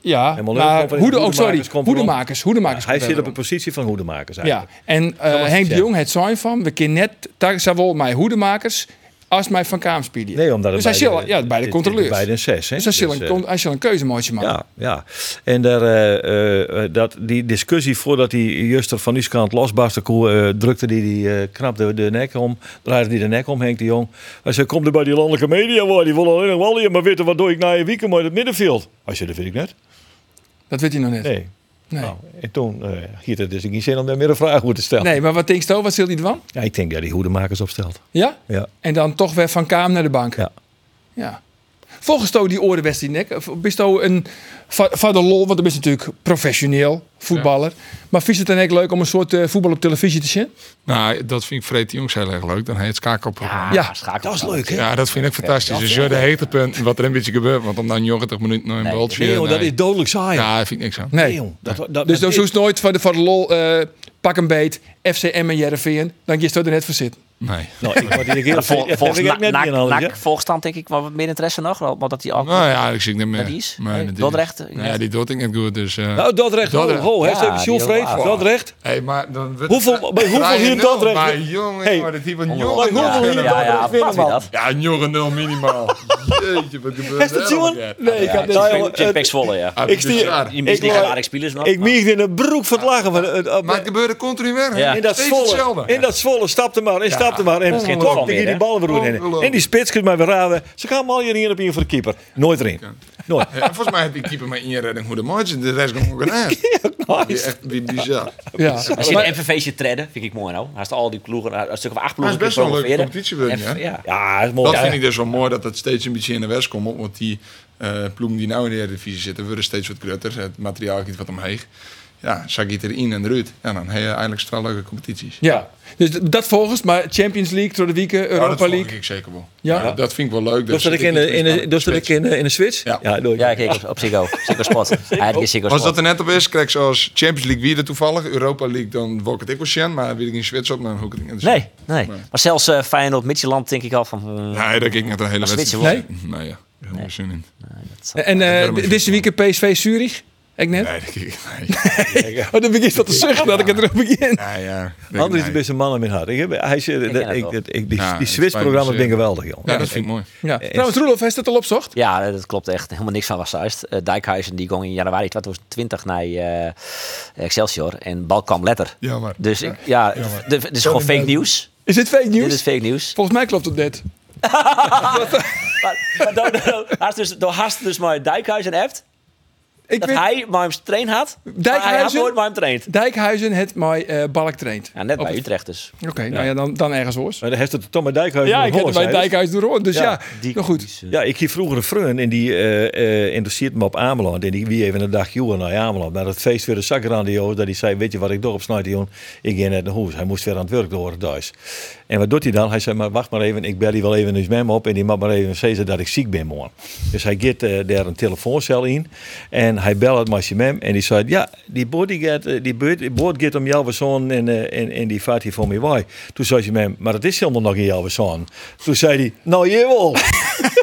S1: Ja,
S7: Helemaal leuk.
S1: maar
S7: Komt er-
S1: Hoede, oh, sorry.
S7: Hoedemakers komt voorop.
S1: Hoedemakers. Hoedemakers.
S7: Hij
S1: komt
S7: zit
S1: weer
S7: op een
S1: weer
S7: positie van hoedemakers
S1: om. Ja,
S7: eigenlijk.
S1: en eh,
S7: het
S1: Henk de
S7: zijn.
S1: Jong het zijn van. We kunnen net, daar zijn wel mijn Hoedemakers als mij van Kaam spelen.
S7: Nee, omdat het
S1: Dus hij
S7: bij de-
S1: zal- ja, bij de
S7: dit-
S1: controleurs.
S7: Bij de zes, hè?
S1: Dus hij zal
S7: Dus,
S1: een,
S7: eh,
S1: kon- hij zal een keuze maken.
S7: ja, ja. En daar, eh, eh, dat, die discussie voordat die Juster van Uskant losbarstte, koe, eh, drukte die, die eh, knap de, de nek om, draaide die de nek om, Henk de Jong. Hij zei, komt er bij die landelijke media, waar die willen alleen nog wel hier, maar weten wat doe ik na je weekend maar in het middenveld? Hij zei, dat weet ik net.
S1: Dat weet hij nog net.
S7: Nee.
S1: Nee.
S7: Nou, en toen, eh hier, het is geen zin om daar meer een vraag over te stellen.
S1: Nee, maar wat denk je, wat zult hij ervan?
S7: Ja, ik denk dat die hoedemakers opstelt.
S1: Ja?
S7: Ja.
S1: En dan toch weer van Kaam naar de bank.
S7: Ja.
S1: ja. Volgens jou die oren best die nek. Of Bist jou een va- van de lol, want dan ben je natuurlijk professioneel voetballer. Maar vind je het dan ook leuk om een soort eh, voetbal op televisie te zien?
S4: Nou, dat vind ik Freed de Jongs heel erg leuk. Dan heet het schakelprogramma.
S7: Ah,
S1: Ja,
S6: Schakel.
S7: Dat is leuk, hè?
S4: Ja, dat vind ik fantastisch. Dus ja, de hoogtepunt wat er een beetje gebeurt. Want om dan 90 minuten nog een
S6: Nee,
S4: baltje...
S7: Nee, joh, dat
S4: nee.
S7: is dodelijk saai.
S4: Ja, daar vind ik niks aan.
S7: Nee,
S1: nee.
S7: joh, dat, dat,
S1: dus dan
S7: dat-
S1: zoest nooit van de, van de lol eh, pak een beet, FCM en Jereveen. Dan kiest er net voor zitten.
S4: Nee.
S7: Nou, ik word hier heel
S6: Vol-
S7: veel.
S6: Volgens
S7: ik net
S6: NAC-
S7: niet aan,
S6: NAC volgstand denk ik wel wat meer interesse nog. wel, Want dat die al...
S4: Nou ja, ik zie het niet meer.
S6: Dat is?
S4: Nee,
S6: Nee,
S4: dat is-
S6: Dordrecht?
S4: Nou ja, die doet ik niet goed. Dus, eh,
S7: eh, Nou, dat recht.
S4: Dordrecht.
S7: Ho, ho,
S6: Ja,
S7: heeft even
S6: die
S7: Sjoelfreed.
S6: heel laag.
S7: Dat recht.
S4: Hey, maar dan werd-
S7: Hoeveel- bij hoeveel hier
S4: 3-0,
S7: Dordrecht?
S4: Maar jongen,
S7: Hey.
S4: maar dit hier van
S7: Maar
S4: jongen.
S7: hoeveel hier
S6: ja, ja,
S7: Dordrecht winnen,
S6: wat weer
S7: man?
S6: dat.
S4: Ja, jongen, nul minimaal. Jeetje, wat gebeurt
S7: Heeft het Johan? Nee, ik had
S6: Ja,
S7: net
S6: Chick- Chick Picks Zwolle,
S4: Ah,
S6: ja.
S7: Ik stier-
S6: Je mist
S7: Ik
S6: niet
S7: wou-
S6: gaan aardig spelers nog.
S7: eh, Ik
S6: maar-
S7: mieg in een broek van het lachen. Van, het- het-
S4: Maar het gebeurde continu weer. hè?
S6: Ja.
S7: in dat
S4: Steeds
S7: zwolle,
S4: hetzelfde.
S7: in dat zwolle, stapte maar en stapte maar. En
S6: Geen
S7: klok
S6: toeval
S7: tegen
S6: meer,
S7: die
S6: hè?
S7: ballen weer in.
S4: Ongelooflijk.
S7: En die spits kunt mij weer raden. Ze gaan allemaal hierin op hier voor de keeper. Nooit erin. Nooit.
S4: Ja, en volgens mij heb die keeper maar één redding hoe de match. De rest gewoon genaamd. Die
S7: Nice.
S4: echt die bizar.
S1: Ja.
S6: Hij zit
S1: Maar-
S6: een MVV'tje treden, vind ik mooi nou. Hij heeft al die ploegen, een stuk of acht
S4: Maar
S6: ploegen.
S4: het is best wel een leuke
S6: gepromoveerd.
S4: competitie, wil je,
S6: En-
S4: hè?
S6: Ja.
S7: Ja, dat is mooi.
S4: Dat
S7: Ja,
S4: vind ik dus wel mooi dat het steeds een beetje in de west komt. Want die eh ploegen die nou in de Eredivisie zitten, worden steeds wat grutter. Het materiaal gaat wat omheen. Ja, zag je het erin en eruit. Ja, dan heb je eigenlijk straks leuke competities.
S1: ja. Dus d- dat volgens, maar Champions League, door de weekend,
S4: Ja,
S1: Europa
S4: dat volg
S1: League.
S4: ik zeker wel.
S1: Ja.
S4: Ja. dat vind ik wel leuk.
S7: Dus dat ik in de- in de- dus dat ik in de- in de switch?
S4: Ja.
S7: doe ik.
S6: Ja, kijk, op Ziggo. Ziggo Sport. Hij is Ziggo
S4: Als dat
S6: Sport.
S4: er net op is, krijg ik zoals Champions League wie er toevallig. Europa League, dan word ik het ik wel Shen. Maar wil ik in Zwits op, dan hoek ik het in de
S6: Nee, nee. Maar zelfs eh, Feyenoord, Midtjylland denk ik al van... hmm,
S4: Nee, daar ging ik net een hele
S6: Maar
S4: wedstrijd.
S6: Zwitser
S4: Nee? Nee, ja. Heel veel zin in.
S1: En eh,
S4: daarom is
S1: d-
S4: het
S1: deze weekend PSV Zurich. Ik net.
S4: Nee, dat ging ik nee.
S1: Oh, dan begint dat te zuchten dat ik het terug begin.
S4: Nee, ja.
S7: Anders is
S4: nee.
S7: de beste man in mijn hart. Ik heb, hij is, eh,
S6: ken
S7: dat-
S6: het
S7: ik,
S6: wel.
S7: dat- ik, die
S4: Ja,
S7: die
S4: het
S7: Switch-programma
S4: spijt me
S7: vind ik
S4: zeer.
S7: geweldig, joh.
S4: Ja, dat vind ik mooi.
S1: Ja. Trouwens, Roelof, heeft dat al op zocht?
S6: Ja, dat klopt echt. Helemaal niks van was juist. Eh, Dijkhuizen die ging in januari 2020 naar eh, Excelsior. En bal kwam letter.
S4: Jammer.
S6: Dus ik, ja, d- dit is gewoon fake nieuws.
S1: Is dit fake
S6: Dit is
S1: nieuws?
S6: fake nieuws.
S1: Volgens mij klopt het net.
S6: dus Maar, maar door, door, door, door, dus maar Dijkhuizen hebt.
S1: Ik
S6: dat
S1: weet-
S6: hij mij train had. maar hij had
S1: Dijkhuizen?
S6: nooit mij traind.
S1: Dijkhuizen het mij eh, balk traint.
S6: Ja, net
S1: Op
S6: bij
S1: het-
S6: Utrecht dus.
S1: Oké, nou ja, dan, dan ergens hoors.
S7: Maar dan heeft het Tom en Dijkhuizen
S1: Ja,
S7: nog
S1: ik heb het bij
S7: Hollands, hè?
S1: Dijkhuis door hoor. Dus ja,
S7: Ja,
S6: die-
S1: nou goed.
S6: die is, eh,
S7: Ja, ik hier vroeger een vriend en die eh eh interesseert me op Ameland. En die wie even een dag joh naar Ameland. Maar het feest weer een zak grandioos. Dat hij zei, weet je wat ik door op snijd, jongen? Ik ging net naar huis. Hij moest weer aan het werk door thuis. En wat doet hij dan? Hij zei, maar wacht maar even. Ik bel die wel even eens met me op. En die mag maar even zeggen dat ik ziek ben morgen. Dus hij gaat eh, daar een telefooncel in. En hij belt het met zijn mem. En die zei, ja, die boot die gaat, eh, die boot, die boot gaat om jouw zoon. En, eh, en, en die vaart hier voor mij waai. Toen zei ze mem, maar het is helemaal nog in jouw zoon. Toen zei hij, nou jawel.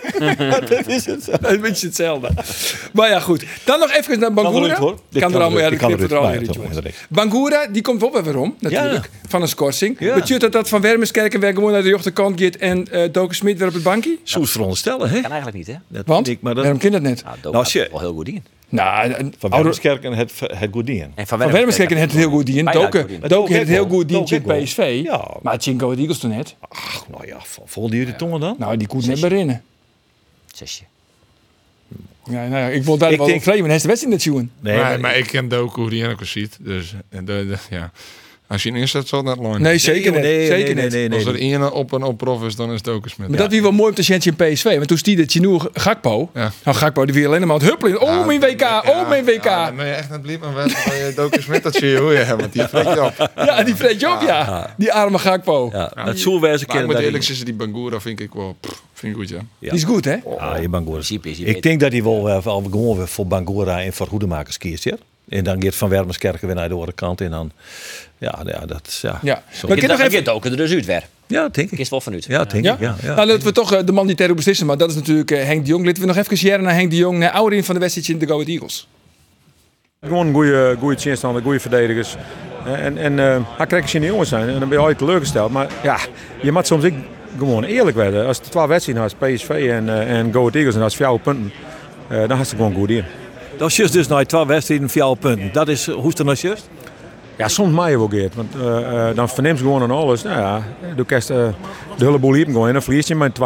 S7: dat is het zo.
S1: Een beetje hetzelfde. maar ja, goed. Dan nog even naar Bangura.
S7: eruit, hoor.
S1: Kan
S7: Dit kan
S1: er allemaal, ja,
S7: eruit,
S1: dit
S7: dit kan
S1: knipt er
S7: eruit.
S1: allemaal
S7: Nee,
S1: uit,
S7: dat
S1: jongens.
S7: moet er
S1: Bangura, die komt op weer om, natuurlijk. Van een schorsing.
S7: Ja.
S1: Weet je dat dat Van Wermerskerk en weer gewoon naar de jochterkant gaat en eh Doken Smit weer op het bankje?
S7: Zo is veronderstellen, hè?
S6: Kan eigenlijk niet, hè?
S7: Dat
S1: Want,
S7: vind ik, maar dat,
S1: waarom kan dat net?
S6: Nou, Doop
S7: Nou,
S6: gaat
S7: als je-
S6: er wel heel goed in.
S1: Nou, eh,
S7: van
S1: oude-
S7: Wermerskerk en het, het Goodien.
S6: En van
S1: Van Wermerskerk en
S6: Wermerskerk-
S1: het heel goed in.
S6: Bijna goed
S1: Doken
S6: in.
S1: Doken heeft het heel
S7: Doken
S1: goed in
S7: ook
S1: tegen
S7: wel.
S1: PSV.
S7: Ja.
S1: Maar Chingo het Eagles toen net.
S7: Ach, nou ja, vo- volde je de tongen dan?
S1: Nou, die koet net binnen.
S6: Zesje.
S1: Ja, nou ja, ik wil daar
S7: Ik
S1: wel
S7: denk-
S1: denk... vreemd, maar hij is de wedstrijd net zoen.
S7: nee,
S4: maar,
S7: maar-
S4: maar ik ken Doku die ook ziet. Dus eh, de, de- ja. als je in inzet zal dat loon.
S1: Nee, zeker
S7: nee,
S1: niet.
S7: nee,
S1: zeker
S7: nee,
S1: niet. Oh,
S7: nee, nee,
S4: Als er
S7: nee.
S4: één op en op prof is, dan is het ook een
S1: Maar
S4: smid.
S1: dat wie wel mooi om te zien in PSV. Want toen stierde Chinoer Gakpo.
S4: Ja.
S1: Nou, Gakpo die weer alleen maar aan het huppelen. Oh, mijn WK. oh, mijn WK.
S4: Ja,
S1: Ja,
S4: dan ben je echt net bliep en weg van je Doku Smit. Dat zie je hoe je hebt, want die vreet je op.
S1: die Fred Job, ja. Die arme Gakpo.
S7: ja, het zoerwijze
S4: Maar ik
S7: kennen
S4: moet
S7: dat
S4: eerlijk
S7: ik...
S4: zeggen, die Bangura vind ik wel pff, vind ik goed, ja.
S7: ja.
S1: Die is goed, hè?
S7: Ah, je Bangora.
S6: principe is hij
S7: Ik
S6: beter.
S7: denk dat hij wel eh, wel gewoon weer voor Bangora en voor Hoedemakers kiest, ja? En dan gaat Van Wermerskerk weer naar de andere kant. En dan, ja, ja dat is, ja.
S1: Ja.
S7: Zo.
S1: Maar
S6: Ik
S1: ik
S6: heb
S1: nog even...
S6: ook er dus uit weer.
S7: Ja, dat denk
S6: Ik
S7: ik.
S6: is wel vanuit.
S7: Ja, dat denk
S1: Ja?
S7: ik, ja. ja.
S1: Nou, laten we toch eh, de man die terror beslissen. Maar dat is natuurlijk eh, Henk de Jong. Laten we nog even jaren naar Henk de Jong. Naar Aurin van de wedstrijd in de Go Ahead Eagles.
S9: Gewoon goede, goede tegenstander, goede verdedigers. En, en eh, hij krijgt in de jongens zijn en dan ben je altijd teleurgesteld. Maar ja, je moet soms ook gewoon eerlijk werden. Eh, Als het 12 wedstrijden had, PSV en, eh, en Go Ahead Eagles, en als jouw punten, eh, dan had ze gewoon goed in.
S7: Dat is juist dus nou 12 wedstrijden, 4 punten. Dat is, hoe is dat nou juist?
S9: Ja, soms maai je wel geert, want eh, eh, dan verneemt ze gewoon aan alles. Nou ja, de kerst eh, de hele boel hier gewoon en dan verlies je met 2-0.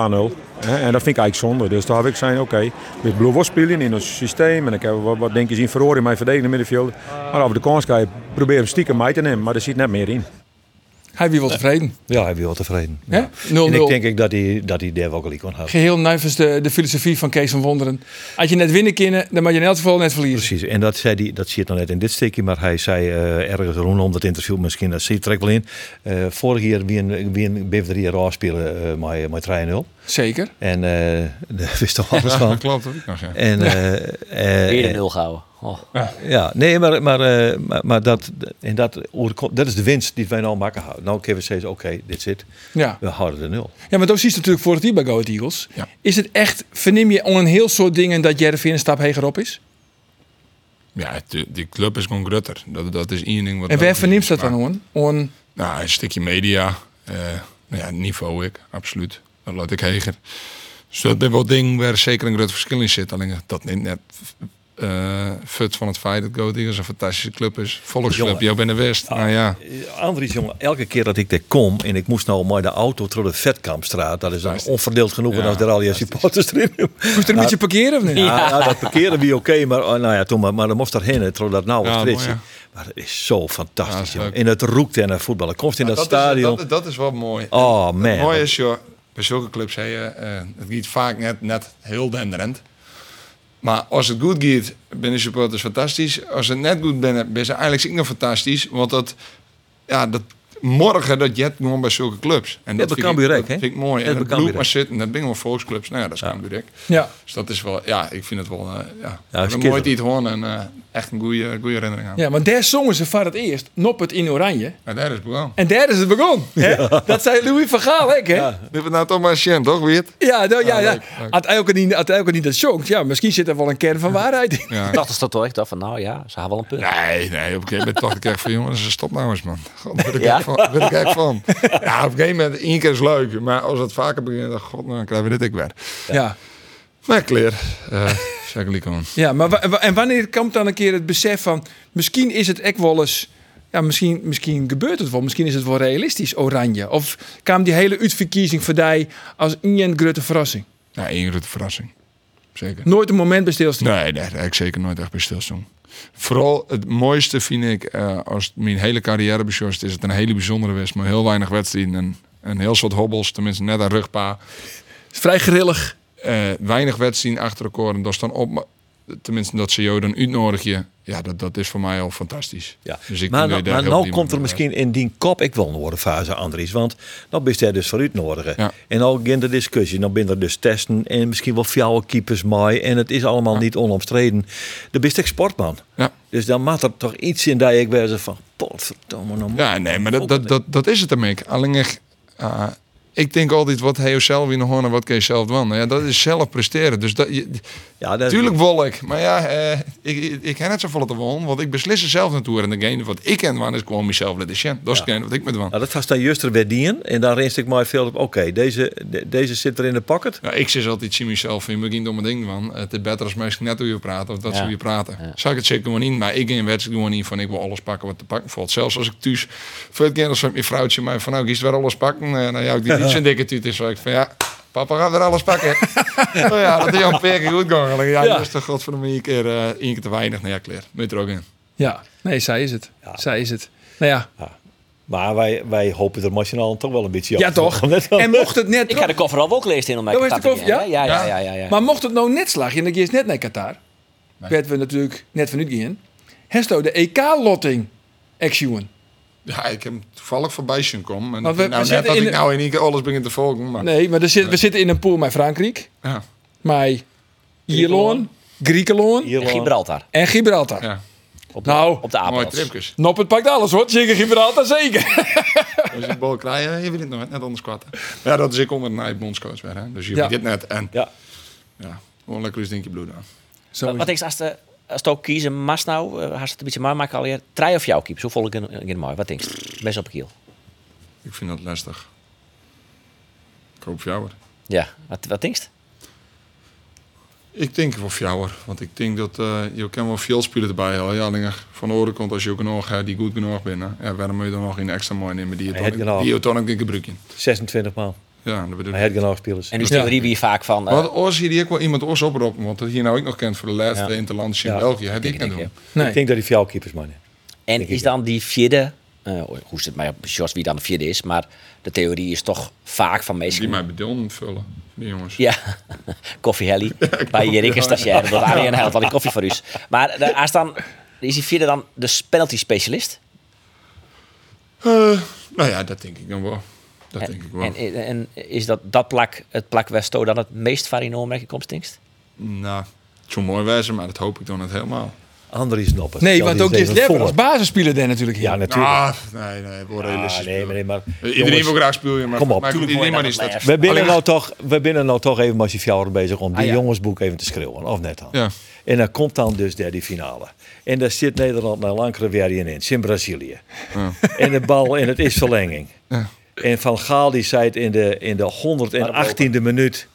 S9: hè. en dat vind ik eigenlijk zonde. Dus daar heb ik zijn, oké, met Blue was spelen in ons systeem. En ik heb wat, wat denk je zien verloren in mijn verdedigende middenveld. Maar over de kans kan je proberen hem stiekem mee te nemen, maar er zit net meer in.
S1: Hij wie wel tevreden.
S7: Ja, hij is wel tevreden.
S1: hè?
S7: Ja.
S1: 0-0.
S7: En ik denk ik dat hij, dat hij daar wel gelijk kon houden.
S1: Geheel nuivens de, de filosofie van Kees van Wonderen. Als je net winnen kunnen, dan mag je in elk geval net verliezen.
S7: Precies, en dat zei hij, dat zit dan net in dit stukje, maar hij zei eh, ergens rondom dat interview, misschien dat zit er ook wel in. Eh vorig jaar wie een, wie een BV3 raar spelen eh met, met 3-0.
S1: Zeker.
S7: En eh, daar wist toch alles van.
S4: Dat klopt ook nog, ja.
S7: En, eh, eh,
S6: Weer de nul gehouden. Oh.
S7: ja, nee, maar, maar, eh, maar, maar dat, en dat, overkomt- dat is de winst die wij nou maken houden. Nou kunnen we zeggen, oké, dit zit,
S1: Ja.
S7: we houden de nul.
S1: Ja, maar dat zie je natuurlijk voor het hier bij Go Ahead Eagles.
S4: Ja.
S1: Is het echt, verneem je om een heel soort dingen dat Jervin een stap heger op is?
S4: Ja, het- die club is gewoon grutter. Dat, dat is één ding wat...
S1: En waar
S4: wij
S1: verneemt dat dan, hoor? On...
S4: Nou, een stukje media. eh, nou ja, niveau ik, absoluut. Dat laat ik heger. Dus dat is wel ding waar zeker een groot verschil in zit. Alleen dat neemt net eh fut van het feit dat Go Ahead Eagles een fantastische club is. Volksclub,
S7: Jongen.
S4: jou bent de West. Nou ja,
S7: Eh, Andries, jongen, elke keer dat ik daar kom en ik moest nou maar de auto door de Vetkampstraat, dat is dan onverdeeld genoeg en als er al je supporters erin hebben.
S1: Moest er een beetje parkeren of niet?
S7: Ja, nou, dat parkeren wie oké, maar oh, nou ja, toen maar, maar dan moest daarheen, trok dat nou
S4: Ja,
S7: wat
S4: mooi,
S7: fritsen.
S4: ja.
S7: Maar dat is zo fantastisch,
S4: Ja, dat is
S7: jongen. En het roekt en het voetballen. Komst in dat,
S4: dat,
S7: stadion.
S4: Is, dat, dat is wel mooi.
S7: oh man.
S4: Het mooie is, joh, bij zulke clubs zei je, eh, het gaat vaak net, net heel denderend. Maar als het goed gaat, ben de supporters fantastisch. Als het net goed ben, ben ze eigenlijk ook nog fantastisch. Want dat, ja, dat morgen, dat jet gewoon bij zulke clubs. En
S7: Net bij
S4: vind
S7: Cambuur
S4: ik,
S7: ook,
S4: dat
S7: hè?
S4: vind ik mooi. En
S7: Net bij
S4: dat bloed
S7: Cambuur
S4: maar zitten, dat ben gewoon volksclubs. Nou ja, dat is Cambuur ook.
S1: Ja.
S4: Dus dat is wel, ja, ik vind het wel, eh, ja,
S7: is
S4: een mooi
S7: schitterend.
S4: iets hoor. En eh, echt een goede, goede herinnering aan.
S1: Ja, want daar zongen ze voor het eerst Noppet in Oranje.
S4: Maar daar is het begonnen.
S1: En daar is het begonnen. hè? Dat zei Louis van Gaal, hè? hè? Ja,
S4: Dit wordt nou toch maar een shame, toch, Wiert?
S1: nou, ja, ja.
S4: leuk, leuk.
S1: Had elke niet, had elke niet dat zongt, ja, misschien zit er wel een kern van waarheid in.
S4: Ja,
S6: Dat is dat toch echt af van, nou ja, ze hebben wel een punt.
S4: Nee, nee, op een gegeven moment dacht ik echt van jongens, stop nou eens man. God, daar ben ik
S6: Ja?
S4: echt van. daar ben ik echt van. Ja, op een gegeven moment, één keer is leuk, maar als het vaker begint, dan, god, nou, dan krijgen we dit ik weer.
S1: Ja,
S4: Maar clear, eh Jacqueline Cohen.
S1: ja maar wa- wa- en wanneer komt dan een keer het besef van... misschien is het echt wel eens... Ja, misschien, misschien gebeurt het wel. Misschien is het wel realistisch, oranje. Of kwam die hele uitverkiezing voor die als een grote verrassing?
S4: Ja, één grote verrassing. Zeker.
S1: Nooit een moment bij stilstaan.
S4: Nee, nee, daar heb ik zeker nooit echt bij stilstaan. Vooral het mooiste vind ik, eh, als het mijn hele carrière bezorgd is, het een hele bijzondere wedstrijd, maar heel weinig wedstrijden en een heel soort hobbels, tenminste net een rugpa.
S1: Vrij grillig.
S4: Eh, weinig wedstrijden achter elkaar en dat is dan op, maar tenminste dat ze jou dan uitnodig je. Ja, dat, dat is voor mij al fantastisch.
S7: Ja.
S4: Dus ik
S7: maar
S4: denk dat je
S7: nou,
S4: daar
S7: maar
S4: heel
S7: nou
S4: veel
S7: komt er
S4: iemand
S7: misschien in die kop ik wel een woordenfase, Andries. Want dan ben je er dus voor uitnodigen. En al begint de discussie. Dan ben er dus testen en misschien wel fjouwe keepers mooi. En het is allemaal niet onomstreden. Dan ben je echt sportman. Dus dan maakt er toch iets in dat ik weer zo van... Potverdomme, nou
S4: Ja, nee, maar dat, dat, dat, dat is het ermee. Alleen echt, eh, ik denk altijd wat hij zelf in de hoorn en wat kan je zelf doen. Nou Ja, dat is zelf presteren. Dus dat, je,
S7: is-
S4: tuurlijk wil ik. Maar ja, eh, ik, ik, ik ken het zo vol te wonen, want ik beslis er zelf naartoe. En degene wat ik ken, waar is gewoon mezelf laten zien. Dat is hetgene wat ik met wan.
S7: Nou, dat was dan juist er weer dien. En daar rest ik maar veel op. Oké, deze, de- deze zit er in de pocket.
S4: Ja, ik zeg altijd zie mezelf in begin door mijn ding van. Het is beter als mensen net hoe je praten of dat
S7: Ja.
S4: ze hoe je praten. Zou ik het zeker gewoon niet, maar ik in wedstrijd gewoon niet van ik wil alles pakken wat te pakken valt. Zelfs als ik thuis veel keer als mijn vrouwtje mij van nou kiest weer alles pakken. Eh, nou ja, ook die niet zo'n dikke tuut is. Waar ik van ja, papa gaat weer alles pakken. nou ja, dat is al een paar keer goed gegaan. Alleen, Ja,
S1: Ja.
S4: dat is toch god voor een keer, eh, één keer te weinig. Nou ja, klaar. Moet je er ook in.
S1: Ja, nee, zij is het. Zij is het. Nou ja.
S7: Maar wij, wij hopen er nationaal toch wel een beetje
S1: Ja,
S7: af te
S1: toch?
S7: komen. Net wel.
S1: En mocht het net...
S6: Ik ga de koffer al ook lezen in om mij
S1: Dat is de
S6: contact te
S1: koffer, ja?
S6: krijgen, hè? Ja, ja, ja. ja, ja.
S1: Maar mocht het nou net slagen, en dat is net naar Qatar, werd we natuurlijk net vanuit gaan. Hesto de EK-lotting action.
S4: Ja, ik heb hem toevallig voorbij zien komen. En
S1: Want
S4: ik
S1: we-
S4: denk nou
S1: we
S4: net
S1: zitten
S4: dat
S1: in
S4: ik
S1: de-
S4: nou in één keer alles begin te volgen. Maar,
S1: Nee, maar er zit, we zitten in een pool met Frankrijk,
S4: Ja.
S1: met Ierland, Griekenland
S6: En Gibraltar.
S1: en Gibraltar.
S6: Op de,
S1: Nou,
S6: op de
S4: Mooie
S6: apenrots.
S4: tripjes.
S1: Noppert pakt alles hoor, zeker Gibraltar, zeker.
S4: Als je de bal krijgt, je wil het nog net anders kwatten. Ja, dat is ik onder een eigen bondscoach weer. Hè? Dus je
S1: Ja.
S4: weet dit net. En
S7: Ja.
S4: ja, gewoon lekker eens denk je bloed aan.
S1: Zo
S6: Wat ik als de als het ook kiezen mas nou, eh, als het een beetje maar maken alweer. Trij of jouw keeper, zo volg ik in, in mooi. Wat denk je? Best op kiel.
S4: Ik vind dat lastig. Ik hoop jou hoor.
S6: Ja, wat, wat denk je?
S4: Ik denk wel voor jou hoor. Want ik denk dat eh, je kan wel veel spelen erbij halen. Ja, alleen van de andere kant, als je ook nog eh, die goed genoeg bent. hè, Ja, waarom moet je dan nog een extra mooi nemen die je
S7: Heb je
S4: tonic-
S7: nou-
S4: die je tonic in gebruikt?
S7: 26 man.
S4: Ja, dat bedoel
S7: Maar
S4: ik.
S7: het gaan afspelers.
S6: En die theorie wie vaak van. eh,
S4: Wat oors hier die ook wel iemand oors oproepen, want dat hier nou ik nog kent voor de laatste interlandje in
S7: Ja.
S4: België. Heb ik kan doen.
S1: Nee.
S7: Ik denk dat die vier keepers man.
S6: en is dan die vierde. eh, hoe zit het mij op Jos wie dan de vierde is, maar de theorie is toch vaak van meestal.
S4: Die mij bedoel moet vullen, die jongens.
S6: Ja, Koffie Helly. bij Jerik is stagiair. Dat Arjen helpt al die koffie voor u. Maar de, als dan, is die vierde dan de penalty specialist?
S4: Eh, nou ja, dat denk ik dan wel. Dat denk ik wel.
S6: En, en, en is dat, dat plak, het plak Westo, dan het meest van in Noormerk komt, stinkst?
S4: Nou, het zou mooi wijzen, maar dat hoop ik dan niet helemaal.
S7: Andries Noppen.
S1: Nee,
S7: Stel
S1: want
S7: die
S1: ook
S7: eens
S1: Jis
S7: even
S1: Lepper
S7: voor.
S1: als basisspeler daar natuurlijk hier.
S7: Ja, natuurlijk.
S4: Ah, nee, nee, wel
S7: Ah,
S4: realistisch. Eh,
S7: nee, maar, nee, maar,
S4: Iedereen wil graag spelen, maar
S7: Kom op,
S4: maar
S7: tuurlijk
S4: iedereen
S6: wil
S4: maar
S6: je
S4: is
S6: dat
S4: dat.
S7: we binnen
S4: Alleen-
S7: nou toch, we binnen nou toch even met die fjouwer bezig om die
S6: Ah, ja.
S7: jongensboek even te schreeuwen, of net dan.
S4: Ja.
S7: En dan komt dan dus daar die finale. En daar zit Nederland naar langere weer in, in in Brazilië. En de bal, en het is verlenging.
S4: Ja.
S7: En Van Gaal die zei het in de, in de 118e minuut,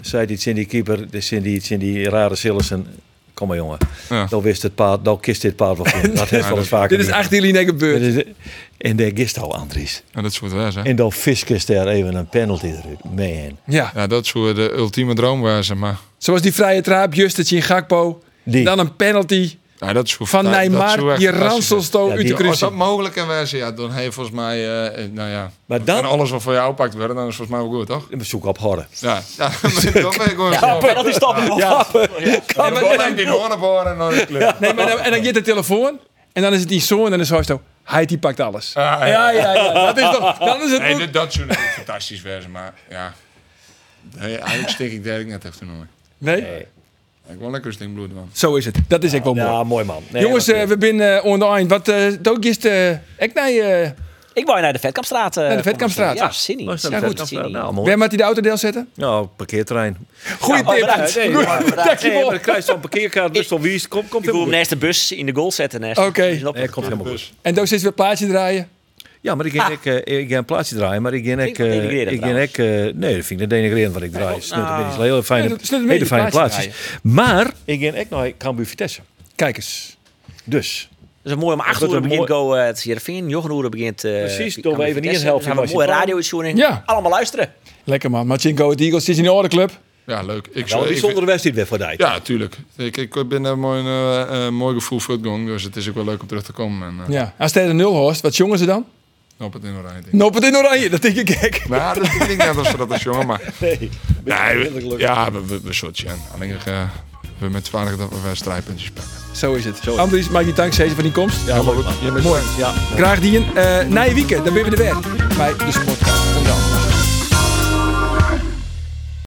S7: zei hij in die keeper, dus in die, iets in die rare Sillessen, kom maar jongen,
S4: Ja.
S7: dan wist het paard, dan kist dit paard wel goed. Dat heeft wel eens vaker.
S1: Dit is
S7: meer.
S1: echt jullie nek gebeurd.
S7: Dit is- En daar gist al Andries.
S4: Ja, dat soort wijzen.
S7: En dan Fiskus daar even een penalty eruit. Man.
S1: Ja,
S4: Ja, dat zou de ultieme droom wijzen, maar
S1: zoals die vrije traap, Justus in Gakpo.
S7: Die.
S1: Dan een penalty
S4: ja, dat zou
S1: van
S4: dat- dat zou
S1: Neymar,
S4: echt
S1: die
S4: fantastisch
S1: ranselsto
S7: Ja,
S1: uit
S7: die-
S1: de
S4: zijn. Oh, Als dat
S1: kruising.
S4: mogelijk kan wijzen, ja, dan heeft volgens mij, eh, eh, nou ja,
S7: Maar dan-
S4: en alles wat voor jou oppakt werd, dan is volgens mij wel goed, toch?
S7: We zoeken op harde.
S4: Ja, ja maar dan ben ik gewoon
S6: Ja,
S4: zo.
S6: penalty stappen. Ja.
S4: En dan ben ik die hoornboor en dan is het klaar.
S1: Nee, maar dan, en dan gaat de telefoon. En dan is het die zo en dan is hij zo. Hij die pakt alles.
S4: Ah, ja.
S1: Ja, ja, ja. Dat is toch, dan is het
S4: Nee,
S1: ook-
S4: dat- dat zou natuurlijk fantastisch zijn, maar ja. Nee, eigenlijk steek ik daar net even nooit.
S1: Nee?
S4: Ik wil lekker een sting bloed, man.
S1: Zo is het. Dat is echt wel mooi.
S7: Ja, Ah, mooi man. Nee,
S1: Jongens,
S7: dat-
S1: eh, we zijn eh on the eind. Wat uh, dood is eh, ik naar je.
S6: Ik wou naar de Vetkampstraat. eh,
S1: Naar de Vetkampstraat.
S6: Ja, zin in.
S7: Was dat
S6: Ja,
S7: vet?
S6: goed. Zin in.
S7: Nou, mooi.
S1: Waar moet hij de autodeel zetten?
S7: Nou, parkeerterrein.
S1: Goeie
S6: Ja,
S1: tip.
S6: bedankt.
S1: Goed,
S6: Nee, maar bedankt.
S7: Nee, maar
S1: Dankjewel.
S7: dan krijg je zo'n parkeerkaart. Dus dan wie is Kom, komt
S6: Ik wil hem
S7: helemaal
S6: naast de bus in de goal zetten. naast-
S1: Oké.
S6: Dus dat-
S7: goed. Nee, komt helemaal goed.
S1: En doos is weer plaatje draaien.
S7: Ja, maar ik ging ik, eh, ik ging een plaatsje draaien, maar ik ging ik,
S6: Vind ik
S7: eh,
S6: denigrerend
S7: ik ging ik, eh, nee, dat vind ik niet denigrerend wat ik draai. Het Snuit een beetje hele fijne,
S1: Nee, dat- snuit een
S7: hele
S1: beetje
S7: fijne
S1: plaatjes
S7: plaatsjes. Maar ik ging ik naar Cambuur Vitesse.
S1: Kijk eens.
S7: Dus
S6: Dat is mooi om acht
S7: Dat
S6: uur
S7: wordt een
S6: begint
S7: mooi-
S6: Go eh, het Heerenveen. Jochenhoeren begint... eh,
S7: Precies,
S6: kan
S7: door we
S6: bij
S7: even
S6: Vitesse.
S7: niet helpen,
S6: Dan gaan we een
S7: was je
S6: mooie
S7: plan.
S6: radio-uitzending.
S1: Ja.
S6: Allemaal luisteren.
S1: Lekker man. Machinko, het Eagles is in de ordenclub.
S4: Ja, leuk. Ik
S7: Wel een bijzondere wedstrijd weer voor Dijk.
S4: Ja, tuurlijk. Ik, ik ben daar mooi, eh, eh, mooi gevoel voor het gong, dus het is ook wel leuk om terug te komen. En, eh,
S1: Ja, als hij de nul hoort, wat jongen ze dan?
S4: Op het in oranje.
S1: Noop het in oranje, dat denk ik gek.
S4: Nou, dat denk ik niet als we dat als jongen, maar...
S7: Nee,
S4: nee we- ja, we, we, we sorteren. Alleen eh, we met 20 dat we weer strijdpuntjes pakken.
S1: Zo is het. Andries, maak je dank zeker van die komst.
S4: Ja, leuk, man.
S1: Mooi.
S4: Ja.
S1: Graag die een. eh na je weekend, dan ben je weer. Bij de Sportcast.